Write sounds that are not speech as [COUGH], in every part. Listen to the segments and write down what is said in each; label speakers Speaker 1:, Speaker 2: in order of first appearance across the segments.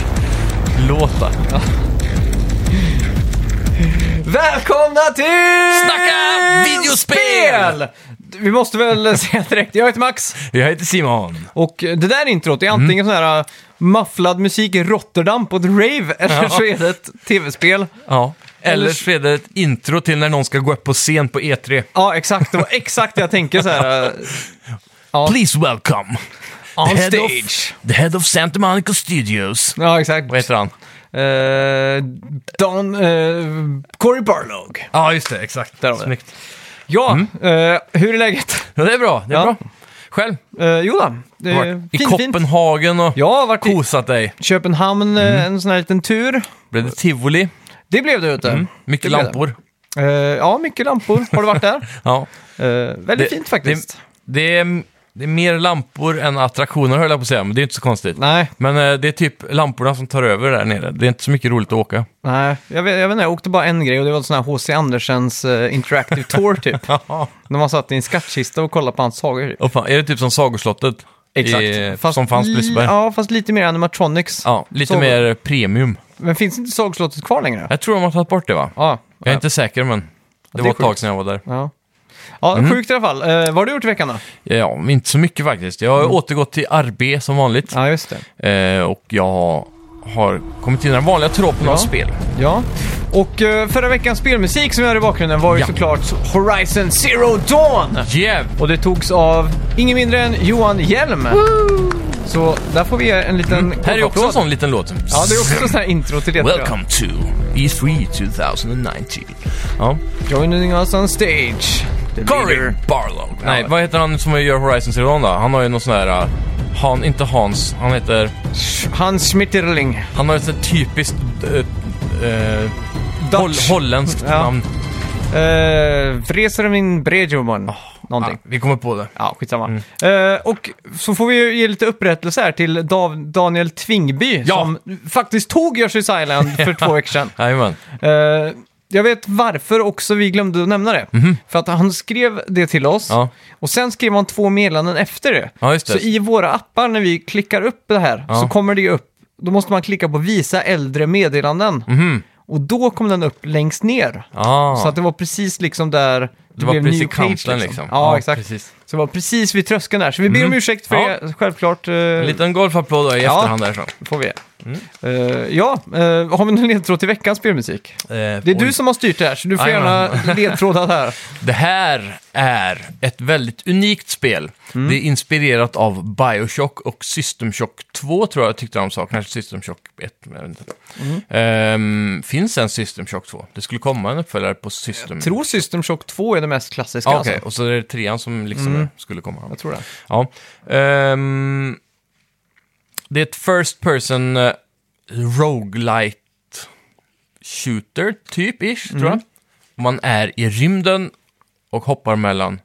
Speaker 1: Jagger-låtar. Välkomna till...
Speaker 2: Snacka videospel!
Speaker 1: Vi måste väl [LAUGHS] säga direkt, jag heter Max.
Speaker 2: Jag heter Simon.
Speaker 1: Och det där introt är antingen
Speaker 2: Mm.
Speaker 1: sån här äh, mafflad musik i Rotterdam på ett rave, [LAUGHS] eller
Speaker 2: Ja.
Speaker 1: så är det ett tv-spel.
Speaker 2: Ja. Eller så är det ett intro till när någon ska gå upp på scen på E E3.
Speaker 1: Ja, exakt. Det var exakt det jag tänker så här.
Speaker 2: [LAUGHS]
Speaker 1: äh,
Speaker 2: Please welcome
Speaker 1: On
Speaker 2: the head
Speaker 1: stage.
Speaker 2: of the head of Santa Monica Studios.
Speaker 1: Ja, exakt.
Speaker 2: Vad heter han?
Speaker 1: Eh, Don... eh, Cory Barlog.
Speaker 2: Ja, just det. Exakt.
Speaker 1: Där har vi det.
Speaker 2: Snyggt.
Speaker 1: Ja,
Speaker 2: Mm.
Speaker 1: eh, hur är läget?
Speaker 2: Ja, det är bra. Det är
Speaker 1: Ja.
Speaker 2: bra. Själv?
Speaker 1: Uh, jo då, det är
Speaker 2: Varit I
Speaker 1: fint, fint.
Speaker 2: Kopenhagen och
Speaker 1: Jag har varit i
Speaker 2: kosat dig.
Speaker 1: Köpenhamn eh,
Speaker 2: Mm.
Speaker 1: en sån här liten tur.
Speaker 2: Blev det tivoli?
Speaker 1: Det blev det ute. Det
Speaker 2: Mycket
Speaker 1: blev det.
Speaker 2: lampor.
Speaker 1: Eh, ja, mycket lampor. Har du varit där?
Speaker 2: Ja.
Speaker 1: [LAUGHS] Eh, väldigt
Speaker 2: Det-
Speaker 1: fint faktiskt.
Speaker 2: Det är, det är mer lampor än attraktioner höll jag på att säga, men det är inte så konstigt.
Speaker 1: Nej,
Speaker 2: Men eh, det är typ lamporna som tar över där nere. Det är inte så mycket roligt att åka.
Speaker 1: nej. Jag vet, jag vet inte, jag åkte bara en grej och det var sån här H.C. Andersens eh, Interactive Tour [LAUGHS] typ. När man satt i en skattkista och kollade på hans sagor. Typ.
Speaker 2: Och fan, är det typ som Sagoslottet?
Speaker 1: eh,
Speaker 2: I, som fanns på
Speaker 1: li-
Speaker 2: Liseberg? Ja,
Speaker 1: Ja, fast lite mer animatronics.
Speaker 2: lite
Speaker 1: Sagor.
Speaker 2: mer premium.
Speaker 1: Men finns inte Sagoslottet kvar längre?
Speaker 2: Jag tror de har tagit bort det va?
Speaker 1: Ja.
Speaker 2: Jag är inte säker men det,
Speaker 1: är
Speaker 2: var ett tag
Speaker 1: sjukt.
Speaker 2: sedan jag var där.
Speaker 1: ja. Ja, sjukt i alla fall. Eh, vad har du gjort i veckan då?
Speaker 2: Ja, men inte så mycket faktiskt. Jag har återgått till RB som vanligt.
Speaker 1: Ja, just det.
Speaker 2: Eh, och jag har kommit till den vanliga tropen av
Speaker 1: Ja.
Speaker 2: spel.
Speaker 1: Ja, och eh, förra veckans spelmusik som vi hade i bakgrunden var ju
Speaker 2: Ja.
Speaker 1: såklart Horizon Zero Dawn!
Speaker 2: Yeah!
Speaker 1: Och det togs av ingen mindre än Johan Hjelm. Så där får vi ge en liten kort
Speaker 2: Mm. Här är också en
Speaker 1: applåd.
Speaker 2: sån liten låt.
Speaker 1: Ja, det är också sån här intro till det. tror jag.
Speaker 2: Welcome to E E3 2019. Ja.
Speaker 1: Joining us on stage. the
Speaker 2: Cory
Speaker 1: leader.
Speaker 2: Barlow. Nej,
Speaker 1: Ja.
Speaker 2: vad heter han som gör Horizon Zero Dawn då? Han har ju någon sån här... uh, Han, inte Hans, han heter...
Speaker 1: Hans Schmitterling. Eh,
Speaker 2: Han har ett sånt typiskt... eh, eh,
Speaker 1: Dutch.
Speaker 2: holl, holländskt
Speaker 1: Ja.
Speaker 2: namn.
Speaker 1: Uh, Vreser min Brejoman.
Speaker 2: Ja,
Speaker 1: Någonting.
Speaker 2: vi kommer på det.
Speaker 1: Ja, skitsamma.
Speaker 2: Mm.
Speaker 1: Eh, och så får vi ju ge lite upprättelse här till Dav- Daniel Tvingby
Speaker 2: Ja.
Speaker 1: som faktiskt tog Yoshi's
Speaker 2: [LAUGHS]
Speaker 1: Island för två veckor sedan.
Speaker 2: Jajamän.
Speaker 1: Eh, jag vet varför också vi glömde att nämna det. För att han skrev det till oss
Speaker 2: Mhm. Ja.
Speaker 1: och sen skrev han två meddelanden efter det.
Speaker 2: Ja, just det.
Speaker 1: Så i våra appar när vi klickar upp det här
Speaker 2: Ja.
Speaker 1: så kommer det ju upp. Då måste man klicka på visa äldre meddelanden.
Speaker 2: Mhm.
Speaker 1: Och då kom den upp längst ner.
Speaker 2: Ah.
Speaker 1: Så att det var precis liksom där det,
Speaker 2: det var
Speaker 1: blev
Speaker 2: precis
Speaker 1: new
Speaker 2: i
Speaker 1: page,
Speaker 2: kanten liksom.
Speaker 1: Ja, exakt.
Speaker 2: Precis. Mhm.
Speaker 1: Så det var precis vid tröskeln där. Så vi ber om ursäkt för
Speaker 2: Ja.
Speaker 1: det, självklart. eh,
Speaker 2: En liten golfapplåd då i
Speaker 1: Ja.
Speaker 2: efterhand där så.
Speaker 1: får vi.
Speaker 2: Mm.
Speaker 1: Eh, ja, eh, har vi någon ledtråd till veckans spelmusik? Det är du som har styrt det här, så du får
Speaker 2: Jajamän. [LAUGHS]
Speaker 1: gärna ledtrådar här.
Speaker 2: Det här är ett väldigt unikt spel.
Speaker 1: Mm.
Speaker 2: Det är inspirerat av Bioshock och System Shock 2 tror jag jag tyckte de sa. Kanske System Shock 1, men jag vet inte.
Speaker 1: Mm.
Speaker 2: Ehm, finns en System Shock 2? Det skulle komma en uppföljare på System...
Speaker 1: Jag tror System Shock 2 är det mest klassiska.
Speaker 2: Ja,
Speaker 1: alltså. Mm.
Speaker 2: okej. Och så är det trean som liksom skulle komma.
Speaker 1: Jag tror det.
Speaker 2: Ja. Ehm, det är ett first person eh, roguelite shooter, typ ish, tror jag. Man är i rymden och hoppar mellan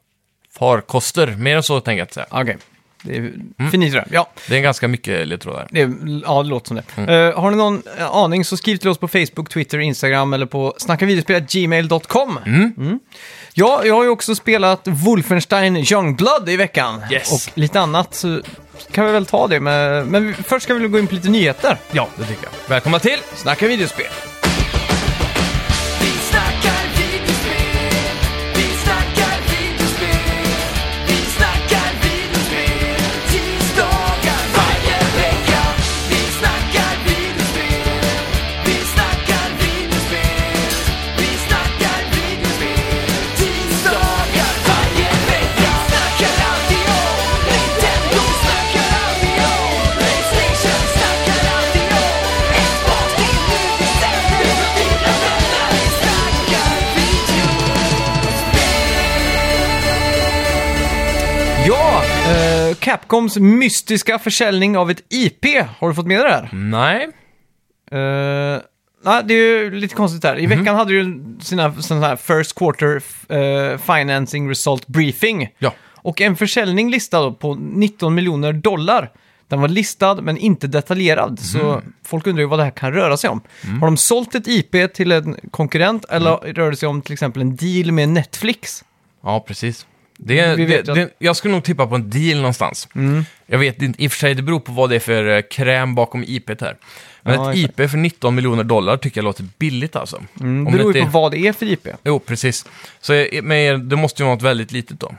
Speaker 2: farkoster. Mer än så tänker jag inte säga.
Speaker 1: Okej, det är
Speaker 2: Mm.
Speaker 1: finito där. Ja,
Speaker 2: Det är ganska mycket ledtrådar.
Speaker 1: det, är, ja, det låter som det.
Speaker 2: Mm.
Speaker 1: Eh, har ni någon eh, aning så skriv till oss på Facebook, Twitter, Instagram eller på snackavideospel.gmail.com.
Speaker 2: Mm.
Speaker 1: Mm. Ja, jag har ju också spelat Wolfenstein Youngblood i veckan.
Speaker 2: Yes.
Speaker 1: Och lite annat, så kan vi väl ta det. Med, men vi- först ska vi väl gå in på lite nyheter.
Speaker 2: Ja, det tycker jag. Välkomna till!
Speaker 1: Snacka videospel!
Speaker 3: Vi snackar videospel, vi snackar videospel, vi snackar videospel, tisdagar varje vecka. Vi snackar videospel, vi snackar videospel, vi snackar videospel, tisdagar varje vecka. Snackar alltid om Nintendo, snackar alltid om Playstation, snackar alltid om Xbox, det är nu vi sänder för dina vänner. Vi snackar video.
Speaker 1: Ja, eh, Capcoms mystiska försäljning av ett IP. Har du fått med dig det här?
Speaker 2: Mm. Nej.
Speaker 1: Eh, nej, det är ju lite konstigt där. I veckan hade ju sina sån här first quarter eh, financing result briefing.
Speaker 2: Ja.
Speaker 1: Och en försäljning listad på 19 miljoner dollar. Den var listad men inte detaljerad, så folk undrar ju vad det här kan röra sig om. Har de sålt ett IP till en konkurrent eller rör det sig om till exempel en deal med Netflix?
Speaker 2: Ja, precis. Det, det,
Speaker 1: Vi vet att- Mm.
Speaker 2: det, jag skulle nog tippa på en deal någonstans. Jag vet inte, i och för sig, det beror på vad det är för eh, kräm bakom IP här. Men
Speaker 1: Ja,
Speaker 2: ett IP för 19 miljoner dollar tycker jag låter billigt alltså.
Speaker 1: Mm,
Speaker 2: Om
Speaker 1: Det beror
Speaker 2: det
Speaker 1: ju på
Speaker 2: inte är-
Speaker 1: vad det är för IP.
Speaker 2: Jo, precis. Så eh, men det måste ju vara något väldigt litet då.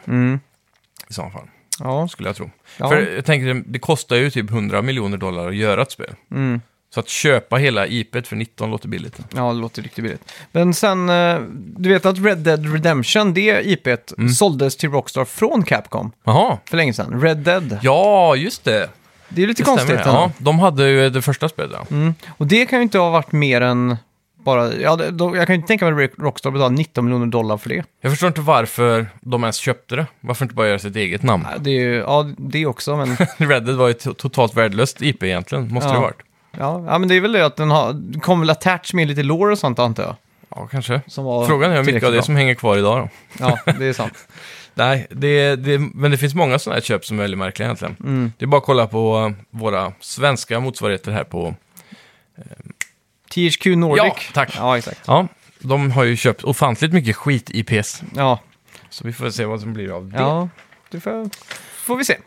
Speaker 2: I så fall,
Speaker 1: Ja,
Speaker 2: skulle jag tro.
Speaker 1: Ja.
Speaker 2: För jag tänker, det kostar ju typ 100 miljoner dollar att göra ett spel.
Speaker 1: mm.
Speaker 2: Så att köpa hela IP för 19 låter billigt.
Speaker 1: ja, det låter riktigt billigt. Men sen, eh, du vet att Red Dead Redemption, det IP
Speaker 2: Mm.
Speaker 1: såldes till Rockstar från Capcom
Speaker 2: Jaha,
Speaker 1: för länge sedan. Red Dead.
Speaker 2: ja just det.
Speaker 1: Det är ju lite
Speaker 2: Det
Speaker 1: konstigt.
Speaker 2: stämmer.
Speaker 1: ändå.
Speaker 2: Ja, de hade ju det första spelet. Ja.
Speaker 1: Mm. Och det kan ju inte ha varit mer än bara... Ja, det, då, jag kan ju inte tänka mig att Rock- Rockstar betalade 19 miljoner dollar för det.
Speaker 2: Jag förstår inte varför de ens köpte det. Varför inte bara göra sitt eget namn?
Speaker 1: Ja, Det är ju, ja, det också, men...
Speaker 2: [LAUGHS] Red Dead var ju to- totalt värdelöst IP egentligen, måste
Speaker 1: Ja.
Speaker 2: det ha varit.
Speaker 1: Ja, ja, men det är väl det att den har, kom väl attached med lite lore och sånt antar jag.
Speaker 2: Ja, kanske.
Speaker 1: Som var
Speaker 2: Frågan är hur mycket av det
Speaker 1: tillräckligt
Speaker 2: som hänger kvar idag då.
Speaker 1: bra. Ja, det
Speaker 2: [LAUGHS]
Speaker 1: är sant.
Speaker 2: Nej, det, det, men det finns många sådana här köp som är väldigt märkliga egentligen. Det är bara att kolla på eh, våra svenska motsvarigheter här på...
Speaker 1: THQ Nordic.
Speaker 2: Ja, tack.
Speaker 1: Ja, exakt.
Speaker 2: Ja, de har ju köpt ofantligt mycket skit-IPs.
Speaker 1: Ja,
Speaker 2: Så vi får se vad som blir av det. Mm.
Speaker 1: ja det får, får vi se.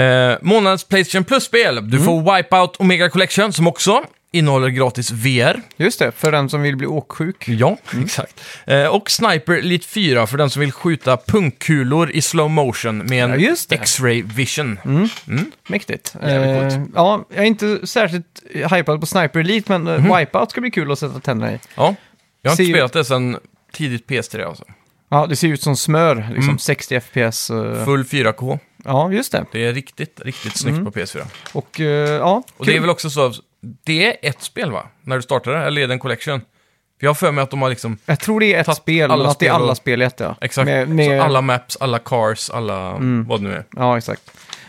Speaker 2: Eh, månadens Playstation Plus-spel. Du får Wipeout Omega Collection som också innehåller gratis VR.
Speaker 1: Just det, för den som vill bli åksjuk.
Speaker 2: Ja,
Speaker 1: Mm.
Speaker 2: exakt. Eh, och Sniper Elite 4 för den som vill skjuta punkkulor i slow motion med
Speaker 1: Ja,
Speaker 2: en
Speaker 1: just det. Mm.
Speaker 2: X-ray vision.
Speaker 1: Mäktigt.
Speaker 2: Jävligt
Speaker 1: Eh, ja, jag är inte särskilt hypad på Sniper Elite, men eh,
Speaker 2: Mhm.
Speaker 1: Wipeout ska bli kul att sätta tänderna i.
Speaker 2: Ja, jag har inte
Speaker 1: Ser ju-
Speaker 2: spelat det sedan tidigt PS3 alltså.
Speaker 1: Ja, det ser ut som smör, liksom 60 FPS. eh,
Speaker 2: Mm. Full 4K.
Speaker 1: ja, just det.
Speaker 2: Det är riktigt, riktigt snyggt på PS4.
Speaker 1: Och eh, ja,
Speaker 2: Och
Speaker 1: Mm. kul.
Speaker 2: det är väl också så, att det är ett spel va? När du startar det, eller är det en collection? För jag har för mig att de har liksom,
Speaker 1: jag tror det är ett
Speaker 2: Tatt
Speaker 1: spel,
Speaker 2: alla
Speaker 1: men att det är
Speaker 2: spel och-
Speaker 1: alla spel i ett, ja.
Speaker 2: exakt,
Speaker 1: Med, med,
Speaker 2: Så alla maps, alla cars, alla vad det nu är.
Speaker 1: Ja, exakt.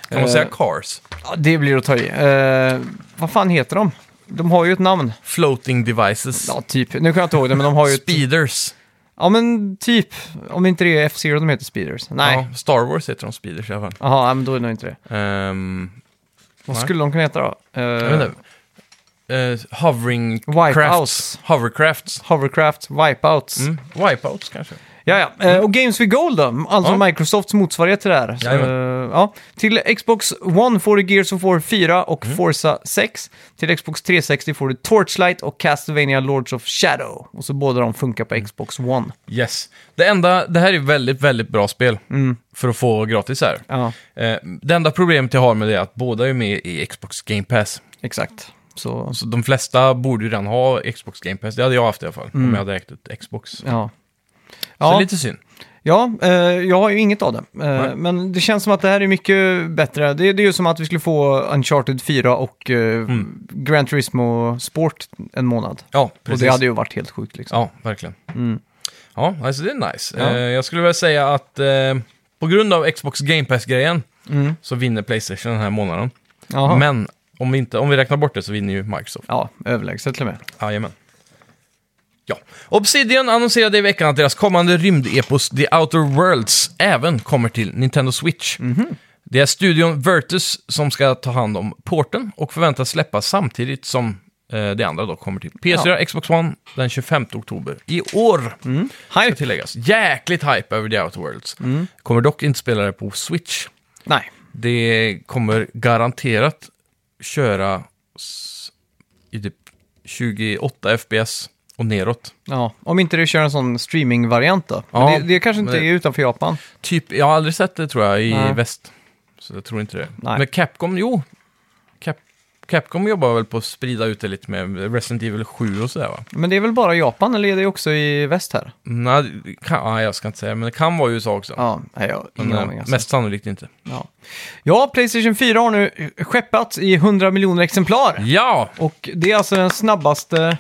Speaker 2: Kan man
Speaker 1: Eh,
Speaker 2: säga cars?
Speaker 1: Ja, det blir att ta i. Eh, vad fan heter de? De har ju ett namn.
Speaker 2: Floating devices.
Speaker 1: Ja, typ. Nu kan jag inte ihåg det, men de har ju ett...
Speaker 2: Speeders.
Speaker 1: Ja, men typ. Om inte det är F-Zero de heter Speeders. Nej.
Speaker 2: Ja, Star Wars heter de Speeders i alla fall.
Speaker 1: Jaha, ja, men då är det nog inte det.
Speaker 2: Ehm,
Speaker 1: Vad
Speaker 2: Nej.
Speaker 1: skulle de kunna heta då? Eh,
Speaker 2: Jag vet inte. Eh, hovering
Speaker 1: Wipeouts.
Speaker 2: crafts. Hovercrafts.
Speaker 1: Hovercraft, Wipeouts.
Speaker 2: Mm. Wipeouts kanske.
Speaker 1: Ja, ja. Eh, och Games with Gold då, alltså
Speaker 2: Ja.
Speaker 1: Microsofts motsvarighet till det här. Så,
Speaker 2: Jajamän.
Speaker 1: eh, ja. Till Xbox One får du Gears of War 4 och
Speaker 2: Mm.
Speaker 1: Forza 6. Till Xbox 360 får du Torchlight och Castlevania Lords of Shadow. Och så båda de funkar
Speaker 2: Mm.
Speaker 1: på Xbox One.
Speaker 2: Yes. Det enda, det här är väldigt, väldigt bra spel för att få gratis här.
Speaker 1: Mm. Ja,
Speaker 2: Eh, det enda problemet jag har med det är att båda är med i Xbox Game Pass.
Speaker 1: exakt. Så,
Speaker 2: Så de flesta borde ju redan ha Xbox Game Pass. Det hade jag haft i alla fall, om jag hade ägt ett Xbox.
Speaker 1: ja.
Speaker 2: Så
Speaker 1: Mm. Ja,
Speaker 2: lite synd.
Speaker 1: ja eh, jag har ju inget av det. Eh,
Speaker 2: Nej.
Speaker 1: men det känns som att det här är mycket bättre. Det, det är ju som att vi skulle få Uncharted 4 och eh,
Speaker 2: Mm.
Speaker 1: Gran Turismo Sport en månad.
Speaker 2: Ja, precis.
Speaker 1: Och det hade ju varit helt sjukt liksom.
Speaker 2: Ja, verkligen. Ja, alltså det är nice.
Speaker 1: Ja.
Speaker 2: Eh, jag skulle vilja säga att eh, på grund av Xbox Game Pass-grejen
Speaker 1: Mm.
Speaker 2: så vinner Playstation den här månaden.
Speaker 1: Jaha.
Speaker 2: Men om vi, inte, om vi räknar bort det så vinner ju Microsoft.
Speaker 1: Ja, överlägset till och med.
Speaker 2: Jajamän. Ja. Obsidian annonserade i veckan att deras kommande rymdepos The Outer Worlds även kommer till Nintendo Switch. Det är studion Virtus som ska ta hand om porten och förväntas släppas samtidigt som eh, det andra då kommer till PS4, Xbox One den 25 oktober i år. Hype tilläggas. Jäkligt hype över The Outer Worlds. Kommer dock inte spela det på Switch.
Speaker 1: Nej.
Speaker 2: Det kommer garanterat köra s- i typ 28 FPS och neråt.
Speaker 1: Ja, om inte du kör en sån streaming-variant då. Men
Speaker 2: Ja,
Speaker 1: det, det kanske inte
Speaker 2: men-
Speaker 1: är utanför Japan.
Speaker 2: Typ, jag har aldrig sett det tror jag i
Speaker 1: Nej.
Speaker 2: väst. Så jag tror inte det.
Speaker 1: Nej.
Speaker 2: Men Capcom, jo. Cap Capcom jobbar väl på att sprida ut det lite med Resident Evil 7 och sådär va?
Speaker 1: Men det är väl bara Japan, eller är det också i väst här?
Speaker 2: Nej, det kan, ja, jag ska inte säga, men det kan vara i USA också.
Speaker 1: Ja, nej, jag har
Speaker 2: men,
Speaker 1: ingen
Speaker 2: eh,
Speaker 1: aning alltså.
Speaker 2: Mest sannolikt inte.
Speaker 1: ja. ja, Playstation 4 har nu skeppats i 100 miljoner exemplar.
Speaker 2: Ja!
Speaker 1: Och det är alltså den snabbaste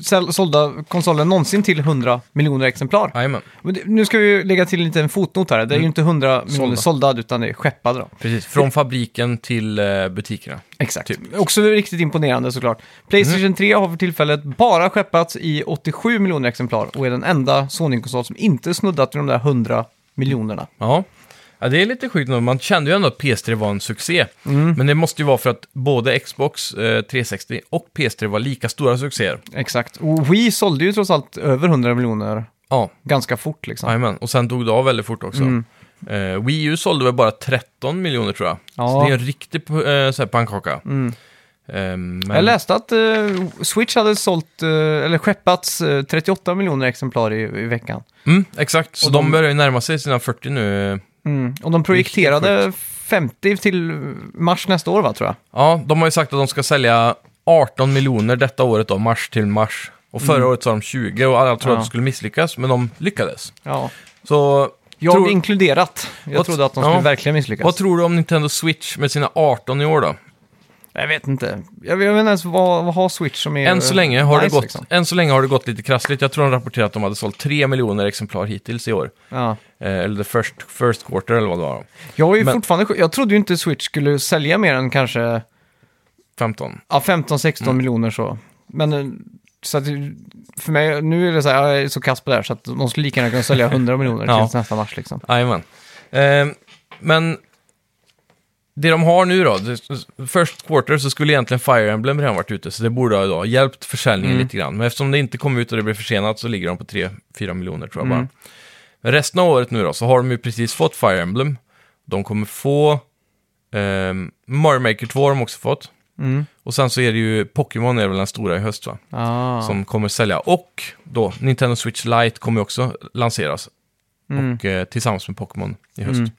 Speaker 1: säl- sålda konsolen någonsin till 100 miljoner exemplar.
Speaker 2: Jajamän,
Speaker 1: Men det- Nu ska vi ju lägga till en liten fotnot här. Det
Speaker 2: Mm.
Speaker 1: är ju inte 100 miljoner sålda, utan det är skeppade då.
Speaker 2: precis. Från fabriken till eh, butikerna.
Speaker 1: Exakt. Typ. Också riktigt imponerande såklart. Playstation 3 har för tillfället bara skeppats i 87 miljoner exemplar och är den enda Sony-konsol som inte snuddat vid de där 100 miljonerna.
Speaker 2: Ja. ja, det är lite sjukt. nog. Man kände ju ändå att PS3 var en succé.
Speaker 1: Mm.
Speaker 2: Men det måste ju vara för att både Xbox eh, 360 och PS3 var lika stora succéer.
Speaker 1: Exakt. Och Wii sålde ju trots allt över 100 miljoner
Speaker 2: Ja,
Speaker 1: ganska fort liksom. Mm.
Speaker 2: jajamän. Och sen dog det av väldigt fort också. Eh, Wii U sålde väl bara 13 miljoner tror jag. Så
Speaker 1: Ja. Mm.
Speaker 2: det är en riktig eh, så här, pannkaka. Eh, men-
Speaker 1: Jag läste att eh, Switch hade sålt, eh, eller skeppats eh, 38 miljoner exemplar i, i veckan.
Speaker 2: Mm, exakt, så
Speaker 1: Och
Speaker 2: de...
Speaker 1: de-
Speaker 2: börjar ju närma sig sina 40 nu.
Speaker 1: Mm. Och de projekterade 50 till mars nästa år, va, tror jag.
Speaker 2: Ja, de har ju sagt att de ska sälja 18 miljoner detta året då, mars till mars. Och förra året sa de 20 och alla trodde
Speaker 1: Mm. Ja.
Speaker 2: att de skulle misslyckas, men de lyckades.
Speaker 1: Ja.
Speaker 2: Så
Speaker 1: Jag
Speaker 2: Tror-
Speaker 1: inkluderat. Jag
Speaker 2: Vad-
Speaker 1: trodde att de skulle
Speaker 2: ja.
Speaker 1: verkligen misslyckas.
Speaker 2: vad tror du om Nintendo Switch med sina 18 i år då?
Speaker 1: Eh, Jag vet inte. Jag vet jag vet inte ens vad, vad har Switch som är...
Speaker 2: Än så, länge har det
Speaker 1: nice,
Speaker 2: gått,
Speaker 1: liksom.
Speaker 2: än så länge har det gått lite krassligt. Jag tror de rapporterade att de hade sålt 3 miljoner exemplar hittills i år.
Speaker 1: Ja.
Speaker 2: Eh, eller the first, first quarter eller vad det var.
Speaker 1: Jag, är ju
Speaker 2: Men-
Speaker 1: fortfarande, jag trodde ju inte Switch skulle sälja mer än kanske
Speaker 2: 15.
Speaker 1: ja, 15-16
Speaker 2: Mm.
Speaker 1: miljoner så. Men eh, så att, det- för mig, nu är det så här, jag är så kass på det här så att de skulle lika gärna kunna sälja 100 miljoner
Speaker 2: Ja.
Speaker 1: till nästa mars liksom.
Speaker 2: Jajamän. Eh, men det de har nu då, det- first quarter så skulle egentligen Fire Emblem redan varit ute, så det borde ha då hjälpt försäljningen
Speaker 1: Mm.
Speaker 2: lite grann. Men eftersom det inte kom ut och det blev försenat så ligger de på 3-4 miljoner tror jag
Speaker 1: Mm.
Speaker 2: bara. Resten av året nu då, så har de ju precis fått Fire Emblem. De kommer få eh, Mario Maker 2 har de också fått.
Speaker 1: Mm.
Speaker 2: Och sen så är det ju Pokémon är väl den stora i höst va?
Speaker 1: Ah.
Speaker 2: Som kommer sälja. Och då, Nintendo Switch Lite kommer ju också lanseras
Speaker 1: Mm.
Speaker 2: och, eh, tillsammans med Pokémon i höst.
Speaker 1: Mm.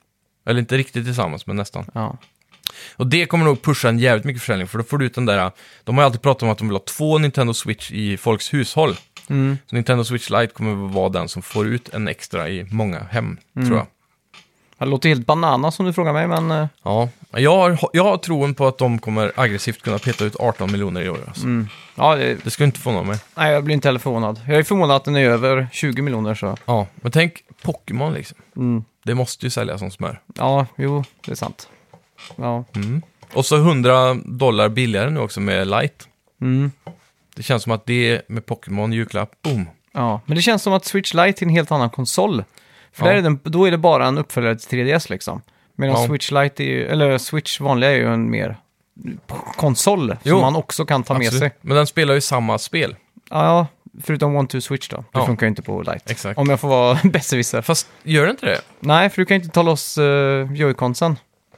Speaker 2: Eller inte riktigt tillsammans, men nästan.
Speaker 1: Ja.
Speaker 2: Och det kommer nog pusha en jävligt mycket försäljning, för då får du ut den där... De har ju alltid pratat om att de vill ha två Nintendo Switch i folks hushåll.
Speaker 1: Mm.
Speaker 2: Så Nintendo Switch Lite kommer att vara den som får ut en extra i många hem,
Speaker 1: Mm.
Speaker 2: tror jag.
Speaker 1: Det låter helt banana som du frågar mig, men eh,
Speaker 2: Ja, jag har, jag har troen på att de kommer aggressivt kunna peta ut 18 miljoner i år. Alltså.
Speaker 1: Mm. ja, det,
Speaker 2: Det skulle inte få någon med.
Speaker 1: nej, jag blir inte heller förvånad. Jag är förvånad att den är över 20 miljoner så.
Speaker 2: Ja, men tänk Pokémon liksom.
Speaker 1: Mm.
Speaker 2: Det måste ju säljas som smör.
Speaker 1: Ja, jo, det är sant. Ja.
Speaker 2: Och så 100 dollar billigare nu också med Lite.
Speaker 1: Mm.
Speaker 2: Det känns som att det med Pokémon julklapp, boom.
Speaker 1: Ja, men det känns som att Switch Lite är en helt annan konsol. För
Speaker 2: Ja.
Speaker 1: där är den, då är det bara en uppföljare till 3DS liksom. Medan
Speaker 2: Ja.
Speaker 1: Switch Lite är ju, eller Switch vanliga är ju en mer konsol
Speaker 2: Jo.
Speaker 1: som man också kan ta med
Speaker 2: Absolut.
Speaker 1: sig.
Speaker 2: Men den spelar ju samma spel.
Speaker 1: Ja, förutom One Two Switch då. Det
Speaker 2: Ja.
Speaker 1: funkar ju inte på Lite.
Speaker 2: Exakt.
Speaker 1: Om jag får vara [LAUGHS] besserwisser.
Speaker 2: Fast gör det inte det?
Speaker 1: Nej, för du kan ju inte ta loss uh, Joy-Consen.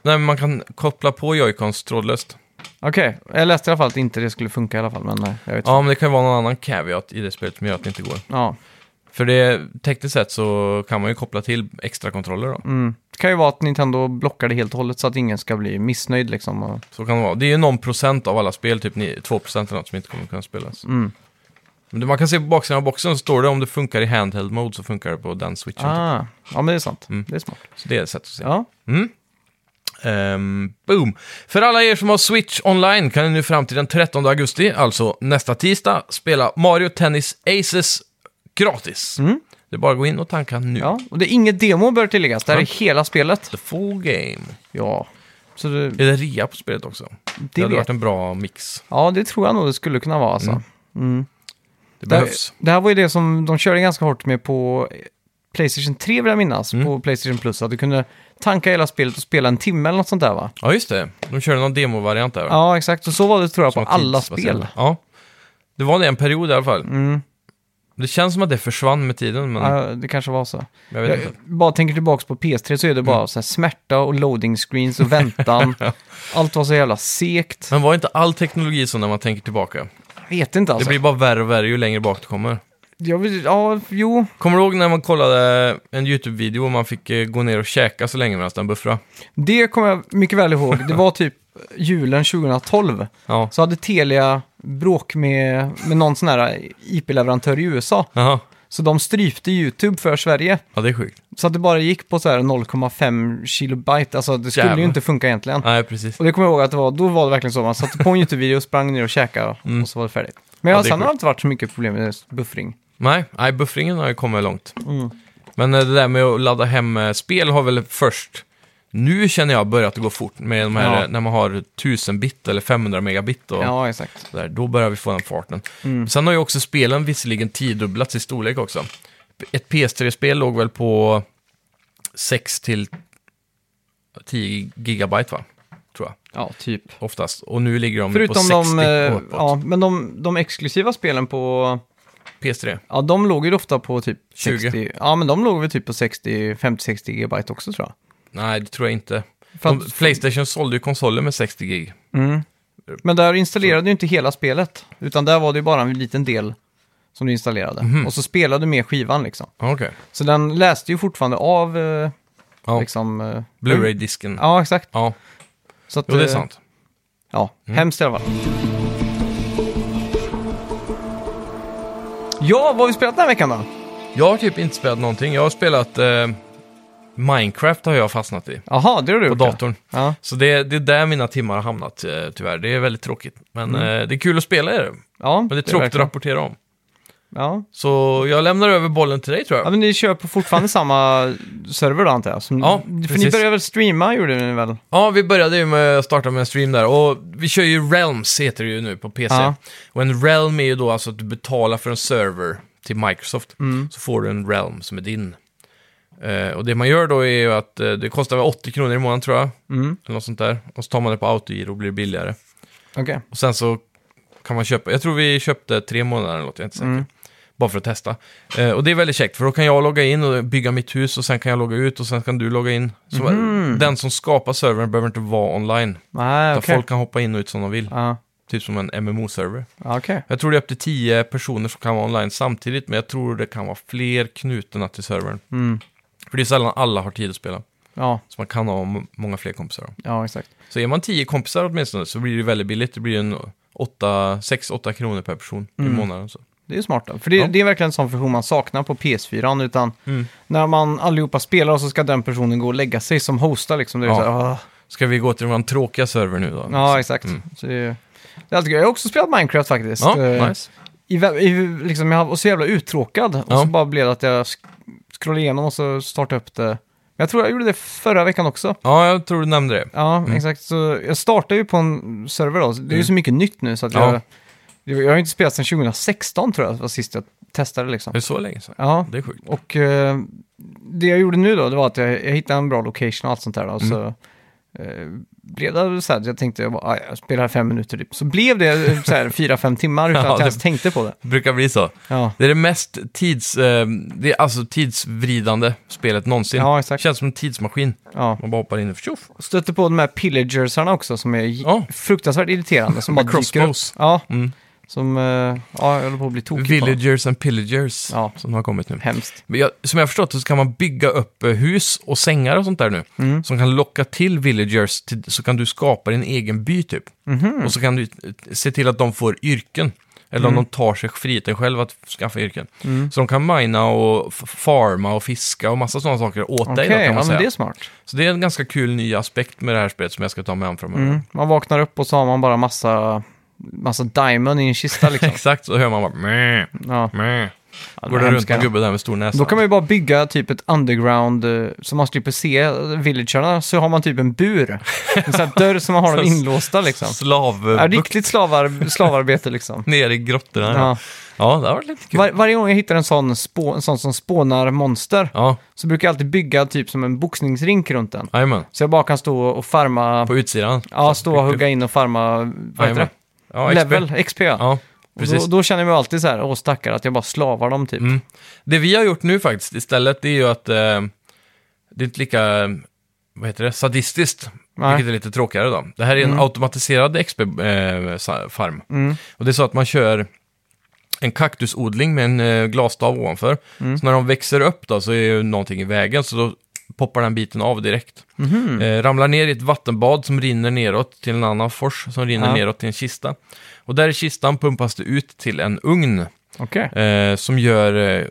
Speaker 2: Nej, men man kan koppla på Joy-Cons trådlöst.
Speaker 1: Okej, jag läste i alla fall att inte det skulle funka i alla fall, men eh, jag vet inte.
Speaker 2: Ja, men det kan ju vara någon annan caveat i det spelet som gör att det inte går.
Speaker 1: Ja.
Speaker 2: För det, tekniskt sett så kan man ju koppla till extra kontroller då.
Speaker 1: Mm. Det kan ju vara att Nintendo blockar det helt och hållet så att ingen ska bli missnöjd liksom. Och...
Speaker 2: Så kan det vara. Det är ju någon procent av alla spel, typ ni- 2 procent eller något som inte kommer kunna spelas.
Speaker 1: Mm.
Speaker 2: Men det- man kan se på baksidan av boxen så står det om det funkar i handheld mode så funkar det på den switchen. typ.
Speaker 1: Ah. Ja, men det är sant.
Speaker 2: Mm.
Speaker 1: Det är smart.
Speaker 2: Så det är ett sätt att se.
Speaker 1: Ja.
Speaker 2: Mm. Ehm, boom. För alla er som har Switch online kan ni nu fram till den 13 augusti, alltså nästa tisdag, spela Mario Tennis Aces gratis. Det är bara att gå in och tanka nu.
Speaker 1: Mm. Ja, och det är inget demo bör tilläggas. Det här är hela spelet.
Speaker 2: The full game.
Speaker 1: Ja, så det, det,
Speaker 2: Är det rea på spelet också? Det, hade
Speaker 1: vet-
Speaker 2: varit en bra mix.
Speaker 1: ja, det tror jag nog det skulle kunna vara alltså.
Speaker 2: Mm.
Speaker 1: Mm.
Speaker 2: Det
Speaker 1: Det, här,
Speaker 2: behövs.
Speaker 1: det här var ju det som de körde ganska hårt med på eh, Playstation 3 vill jag minnas,
Speaker 2: Mm.
Speaker 1: på Playstation Plus. Att du kunde tanka hela spelet och spela en timme eller något sånt där va?
Speaker 2: Ja, just det. De körde någon demovariant där. va?
Speaker 1: Ja, exakt. Och så var det tror jag på
Speaker 2: Som var
Speaker 1: alla
Speaker 2: tidsbaserad.
Speaker 1: spel.
Speaker 2: Ja. Det var det en period i alla fall.
Speaker 1: Mm.
Speaker 2: Det känns som att det försvann med tiden, men
Speaker 1: Ja, det kanske var så.
Speaker 2: Mm. jag vet
Speaker 1: Jag
Speaker 2: inte. Mm.
Speaker 1: bara tänker tillbaka på PS3 så är det bara så här smärta och loading screens
Speaker 2: [LAUGHS]
Speaker 1: och väntan. Allt var så jävla segt.
Speaker 2: Men var inte all teknologi så när man tänker tillbaka?
Speaker 1: Jag vet inte
Speaker 2: Det
Speaker 1: alltså.
Speaker 2: blir bara värre och värre ju längre bak du kommer.
Speaker 1: Jag vill... Ja, jo.
Speaker 2: Kommer du ihåg när man kollade en YouTube-video och man fick eh, gå ner och käka så länge medan den buffrade?
Speaker 1: Det kommer jag mycket väl ihåg. Det
Speaker 2: [LAUGHS]
Speaker 1: var typ julen 2012.
Speaker 2: Ja.
Speaker 1: Så hade Telia bråk med, med någon sån här IP-leverantör i USA.
Speaker 2: Jaha.
Speaker 1: Så de strypte YouTube för Sverige.
Speaker 2: Ja, det är sjukt.
Speaker 1: Så att det bara gick på så här 0,5 kilobyte. Alltså det skulle
Speaker 2: Jävlar.
Speaker 1: ju inte funka egentligen.
Speaker 2: Nej, precis.
Speaker 1: Och det kommer jag ihåg att det var, då var det verkligen så. Man satte på en YouTube-video, sprang ner och käkade och så var det färdigt.
Speaker 2: Mm.
Speaker 1: Men
Speaker 2: Ja,
Speaker 1: ja,
Speaker 2: det är
Speaker 1: sen har
Speaker 2: sjukt.
Speaker 1: det inte varit så mycket problem med just buffring.
Speaker 2: Nej, nej buffringen har ju kommit långt.
Speaker 1: Mm.
Speaker 2: Men eh, det där med att ladda hem eh, spel har väl först... Nu känner jag börjat att gå fort med de här,
Speaker 1: Ja.
Speaker 2: eh, när man har 1000 bit eller 500 megabit och
Speaker 1: Ja, exakt.
Speaker 2: sådär. Då börjar vi få den farten. Sen har ju också spelen visserligen tiodubblats i storlek också. Ett PS3-spel låg väl på 6 till 10 gigabyte va? Tror jag.
Speaker 1: Ja, typ.
Speaker 2: oftast. Och nu ligger de på
Speaker 1: Förutom
Speaker 2: 60
Speaker 1: de, eh,
Speaker 2: och uppåt.
Speaker 1: ja, men de, de exklusiva spelen på
Speaker 2: PS3.
Speaker 1: Ja, de låg ju ofta på typ
Speaker 2: 20.
Speaker 1: 60... Ja, men de låg väl typ på 60, 50-60 GB också tror jag.
Speaker 2: Nej, det tror jag inte.
Speaker 1: För
Speaker 2: De,
Speaker 1: att-
Speaker 2: Playstation sålde ju konsoler med 60 gig.
Speaker 1: Men där installerade du inte hela spelet, utan där var det ju bara en liten del som du installerade.
Speaker 2: Mhm.
Speaker 1: Och så spelade du med skivan liksom.
Speaker 2: Okej.
Speaker 1: Så den läste ju fortfarande av eh,
Speaker 2: Ja.
Speaker 1: liksom... Eh,
Speaker 2: Blu-ray-disken. Ja.
Speaker 1: Ja, exakt. Så att,
Speaker 2: Jo, det är
Speaker 1: eh,
Speaker 2: sant. Mm.
Speaker 1: Ja, hemskt i alla fall. Ja, vad har vi spelat den här veckan då?
Speaker 2: Jag har typ inte spelat någonting. Jag har spelat eh, Minecraft har jag fastnat i.
Speaker 1: Jaha, det har du
Speaker 2: På
Speaker 1: gjort. ja.
Speaker 2: datorn.
Speaker 1: Ja.
Speaker 2: Så det, det är där mina timmar har hamnat eh, tyvärr. Det är väldigt tråkigt. Men eh, det är kul att spela i det. Men
Speaker 1: ja,
Speaker 2: det är tråkigt att
Speaker 1: verkligen.
Speaker 2: rapportera om.
Speaker 1: Ja.
Speaker 2: Så jag lämnar över bollen till dig tror
Speaker 1: ja,
Speaker 2: jag.
Speaker 1: men ni kör
Speaker 2: [LAUGHS]
Speaker 1: på fortfarande samma server då antar jag? Som,
Speaker 2: Ja,
Speaker 1: för ni
Speaker 2: precis.
Speaker 1: började väl streama gjorde ni väl?
Speaker 2: Ja, vi började ju med att starta med en stream där. Och vi kör ju Realms heter det ju nu på PC.
Speaker 1: Ja.
Speaker 2: Och en Realm är ju då alltså att du betalar för en server till Microsoft. Så får du en Realm som är din. Eh, och det man gör då är ju att eh, det kostar väl 80 kronor i månaden tror jag.
Speaker 1: Mm.
Speaker 2: Eller något sånt där. Och så tar man det på autogiro och blir det billigare.
Speaker 1: Okej.
Speaker 2: Och sen så kan man köpa, jag tror vi köpte tre månader eller något, jag är inte säker.
Speaker 1: Mm.
Speaker 2: Bara för att testa. Eh, och det är väldigt käckt, för då kan jag logga in och bygga mitt hus och sen kan jag logga ut och sen kan du logga in. Så
Speaker 1: Mhm.
Speaker 2: Den som skapar servern behöver inte vara online.
Speaker 1: Nej,
Speaker 2: Utan
Speaker 1: okej.
Speaker 2: Folk kan hoppa in och ut som de vill,
Speaker 1: Ja,
Speaker 2: typ som en MMO-server.
Speaker 1: ja, okej.
Speaker 2: Jag tror det är upp till tio personer som kan vara online samtidigt, men jag tror det kan vara fler knutna till servern.
Speaker 1: Mm.
Speaker 2: För det är sällan alla har tid att spela,
Speaker 1: Ja,
Speaker 2: så man kan ha m- många fler kompisar. Då.
Speaker 1: ja, exakt.
Speaker 2: Så är man tio kompisar åtminstone så blir det väldigt billigt. Det blir en 6-8 kronor per person
Speaker 1: Mm.
Speaker 2: i månaden. Så.
Speaker 1: Det är ju smart. Då. För det,
Speaker 2: Ja.
Speaker 1: det är verkligen en sån funktion man saknar på PS4. Utan
Speaker 2: Mm.
Speaker 1: när man allihopa spelar så ska den personen gå och lägga sig som hostar. Liksom. Det är
Speaker 2: Ja.
Speaker 1: så här, "Åh."
Speaker 2: Ska vi gå till vår tråkiga server nu då?
Speaker 1: ja, exakt. Så det, är- det är alltid kul. Jag har också spelat Minecraft faktiskt.
Speaker 2: Mm. Ja,
Speaker 1: Eh,
Speaker 2: nice.
Speaker 1: i, vä- i, liksom, jag var så jävla uttråkad. Och
Speaker 2: Ja.
Speaker 1: så bara blev det att jag sk- scrollade igenom och så startade upp det. Men jag tror jag gjorde det förra veckan också.
Speaker 2: ja, jag tror du nämnde det.
Speaker 1: Ja, exakt. Så jag startade ju på en server då. Så Det är ju så mycket nytt nu så att
Speaker 2: Mm. Ja.
Speaker 1: jag... Jag har ju inte spelat sedan 2016 tror jag, var sist jag testade liksom.
Speaker 2: Det är så länge sedan.
Speaker 1: Ja,
Speaker 2: Det är sjukt.
Speaker 1: och eh, det jag gjorde nu då, det var att jag, jag hittade en bra location och allt sånt där. Då, och Så
Speaker 2: Mm.
Speaker 1: eh, blev det så här, att jag tänkte, jag, bara, "Ah, jag spelar fem minuter typ. Så blev det eh, så här fyra, fem timmar
Speaker 2: [LAUGHS]
Speaker 1: utan
Speaker 2: Ja,
Speaker 1: att jag
Speaker 2: det-
Speaker 1: ens tänkte på det.
Speaker 2: Det brukar bli så.
Speaker 1: Ja,
Speaker 2: Det är det mest tids, eh, det är alltså tidsvridande spelet någonsin.
Speaker 1: Ja, exakt.
Speaker 2: Känns som en tidsmaskin.
Speaker 1: ja.
Speaker 2: Man bara hoppar in och tjoff.
Speaker 1: Stötte på de här pillagersarna också som är j-
Speaker 2: Ja.
Speaker 1: fruktansvärt irriterande. Som bara dyker upp.
Speaker 2: crossbows.
Speaker 1: Ja,
Speaker 2: Mm.
Speaker 1: som, eh, ja, jag håller på att bli tokig på. dem.
Speaker 2: Villagers and pillagers
Speaker 1: Ja.
Speaker 2: som har kommit nu.
Speaker 1: Hemskt.
Speaker 2: Men jag, som jag har förstått det så kan man bygga upp eh, hus och sängar och sånt där nu.
Speaker 1: Mm.
Speaker 2: Som kan locka till villagers, till, så kan du skapa din egen by typ.
Speaker 1: Mhm. Mm.
Speaker 2: Och så kan du eh, se till att de får yrken. Eller om de tar sig friheten själv att skaffa yrken.
Speaker 1: Mm.
Speaker 2: Så de kan mina och f- farma och fiska och massa sådana saker åt
Speaker 1: Okej,
Speaker 2: dig då, kan man
Speaker 1: ja, men
Speaker 2: säga.
Speaker 1: det är smart.
Speaker 2: Så det är en ganska kul ny aspekt med det här spelet som jag ska ta med mig framöver.
Speaker 1: Mm. Man vaknar upp och så har man bara massa, massa diamond i en kista
Speaker 2: [LAUGHS]
Speaker 1: liksom.
Speaker 2: Exakt, så hör man bara meh,
Speaker 1: ja.
Speaker 2: meh.
Speaker 1: Ja,
Speaker 2: Går
Speaker 1: de är
Speaker 2: det runt
Speaker 1: hemska.
Speaker 2: en gubbe där med stor näsa.
Speaker 1: Då kan man ju bara bygga typ ett underground, eh, så man slipper se eh, villagerna, så har man typ en bur. En sån här dörr som
Speaker 2: [LAUGHS]
Speaker 1: man har dem inlåsta liksom. Ja,
Speaker 2: Slavbukt
Speaker 1: riktigt slavar, slavarbete liksom.
Speaker 2: ner i grottorna. Ja.
Speaker 1: Ja.
Speaker 2: ja, det har varit lite kul.
Speaker 1: Var, varje gång jag hittar en sån, spå, en sån som spånar monster
Speaker 2: Ja,
Speaker 1: så brukar jag alltid bygga typ som en boxningsrink runt den.
Speaker 2: jajamän.
Speaker 1: Så jag bara kan stå och farma,
Speaker 2: På utsidan.
Speaker 1: ja stå och hugga in och farma, vad heter
Speaker 2: Jajamän. Ja,
Speaker 1: det?
Speaker 2: XP.
Speaker 1: Level, XP ja.
Speaker 2: Ja,
Speaker 1: Och då,
Speaker 2: precis.
Speaker 1: då känner jag mig alltid så här, åh stackare, att jag bara slavar dem typ.
Speaker 2: Mm. Det vi har gjort nu faktiskt istället, det är ju att eh, det är inte lika, eh, vad heter det, sadistiskt.
Speaker 1: Nej. Mm.
Speaker 2: Vilket är lite tråkigare då. Det här är en automatiserad eh, XP-farm. Och det är så att man kör en kaktusodling med en eh, glasstav ovanför. Så när de växer upp då så är ju någonting i vägen, så då poppar den biten av direkt. Eh, ramlar ner i ett vattenbad som rinner neråt till en annan fors som rinner
Speaker 1: Ja.
Speaker 2: neråt till en kista. Och där i kistan pumpas det ut till en ugn
Speaker 1: Okej.
Speaker 2: eh, som gör eh,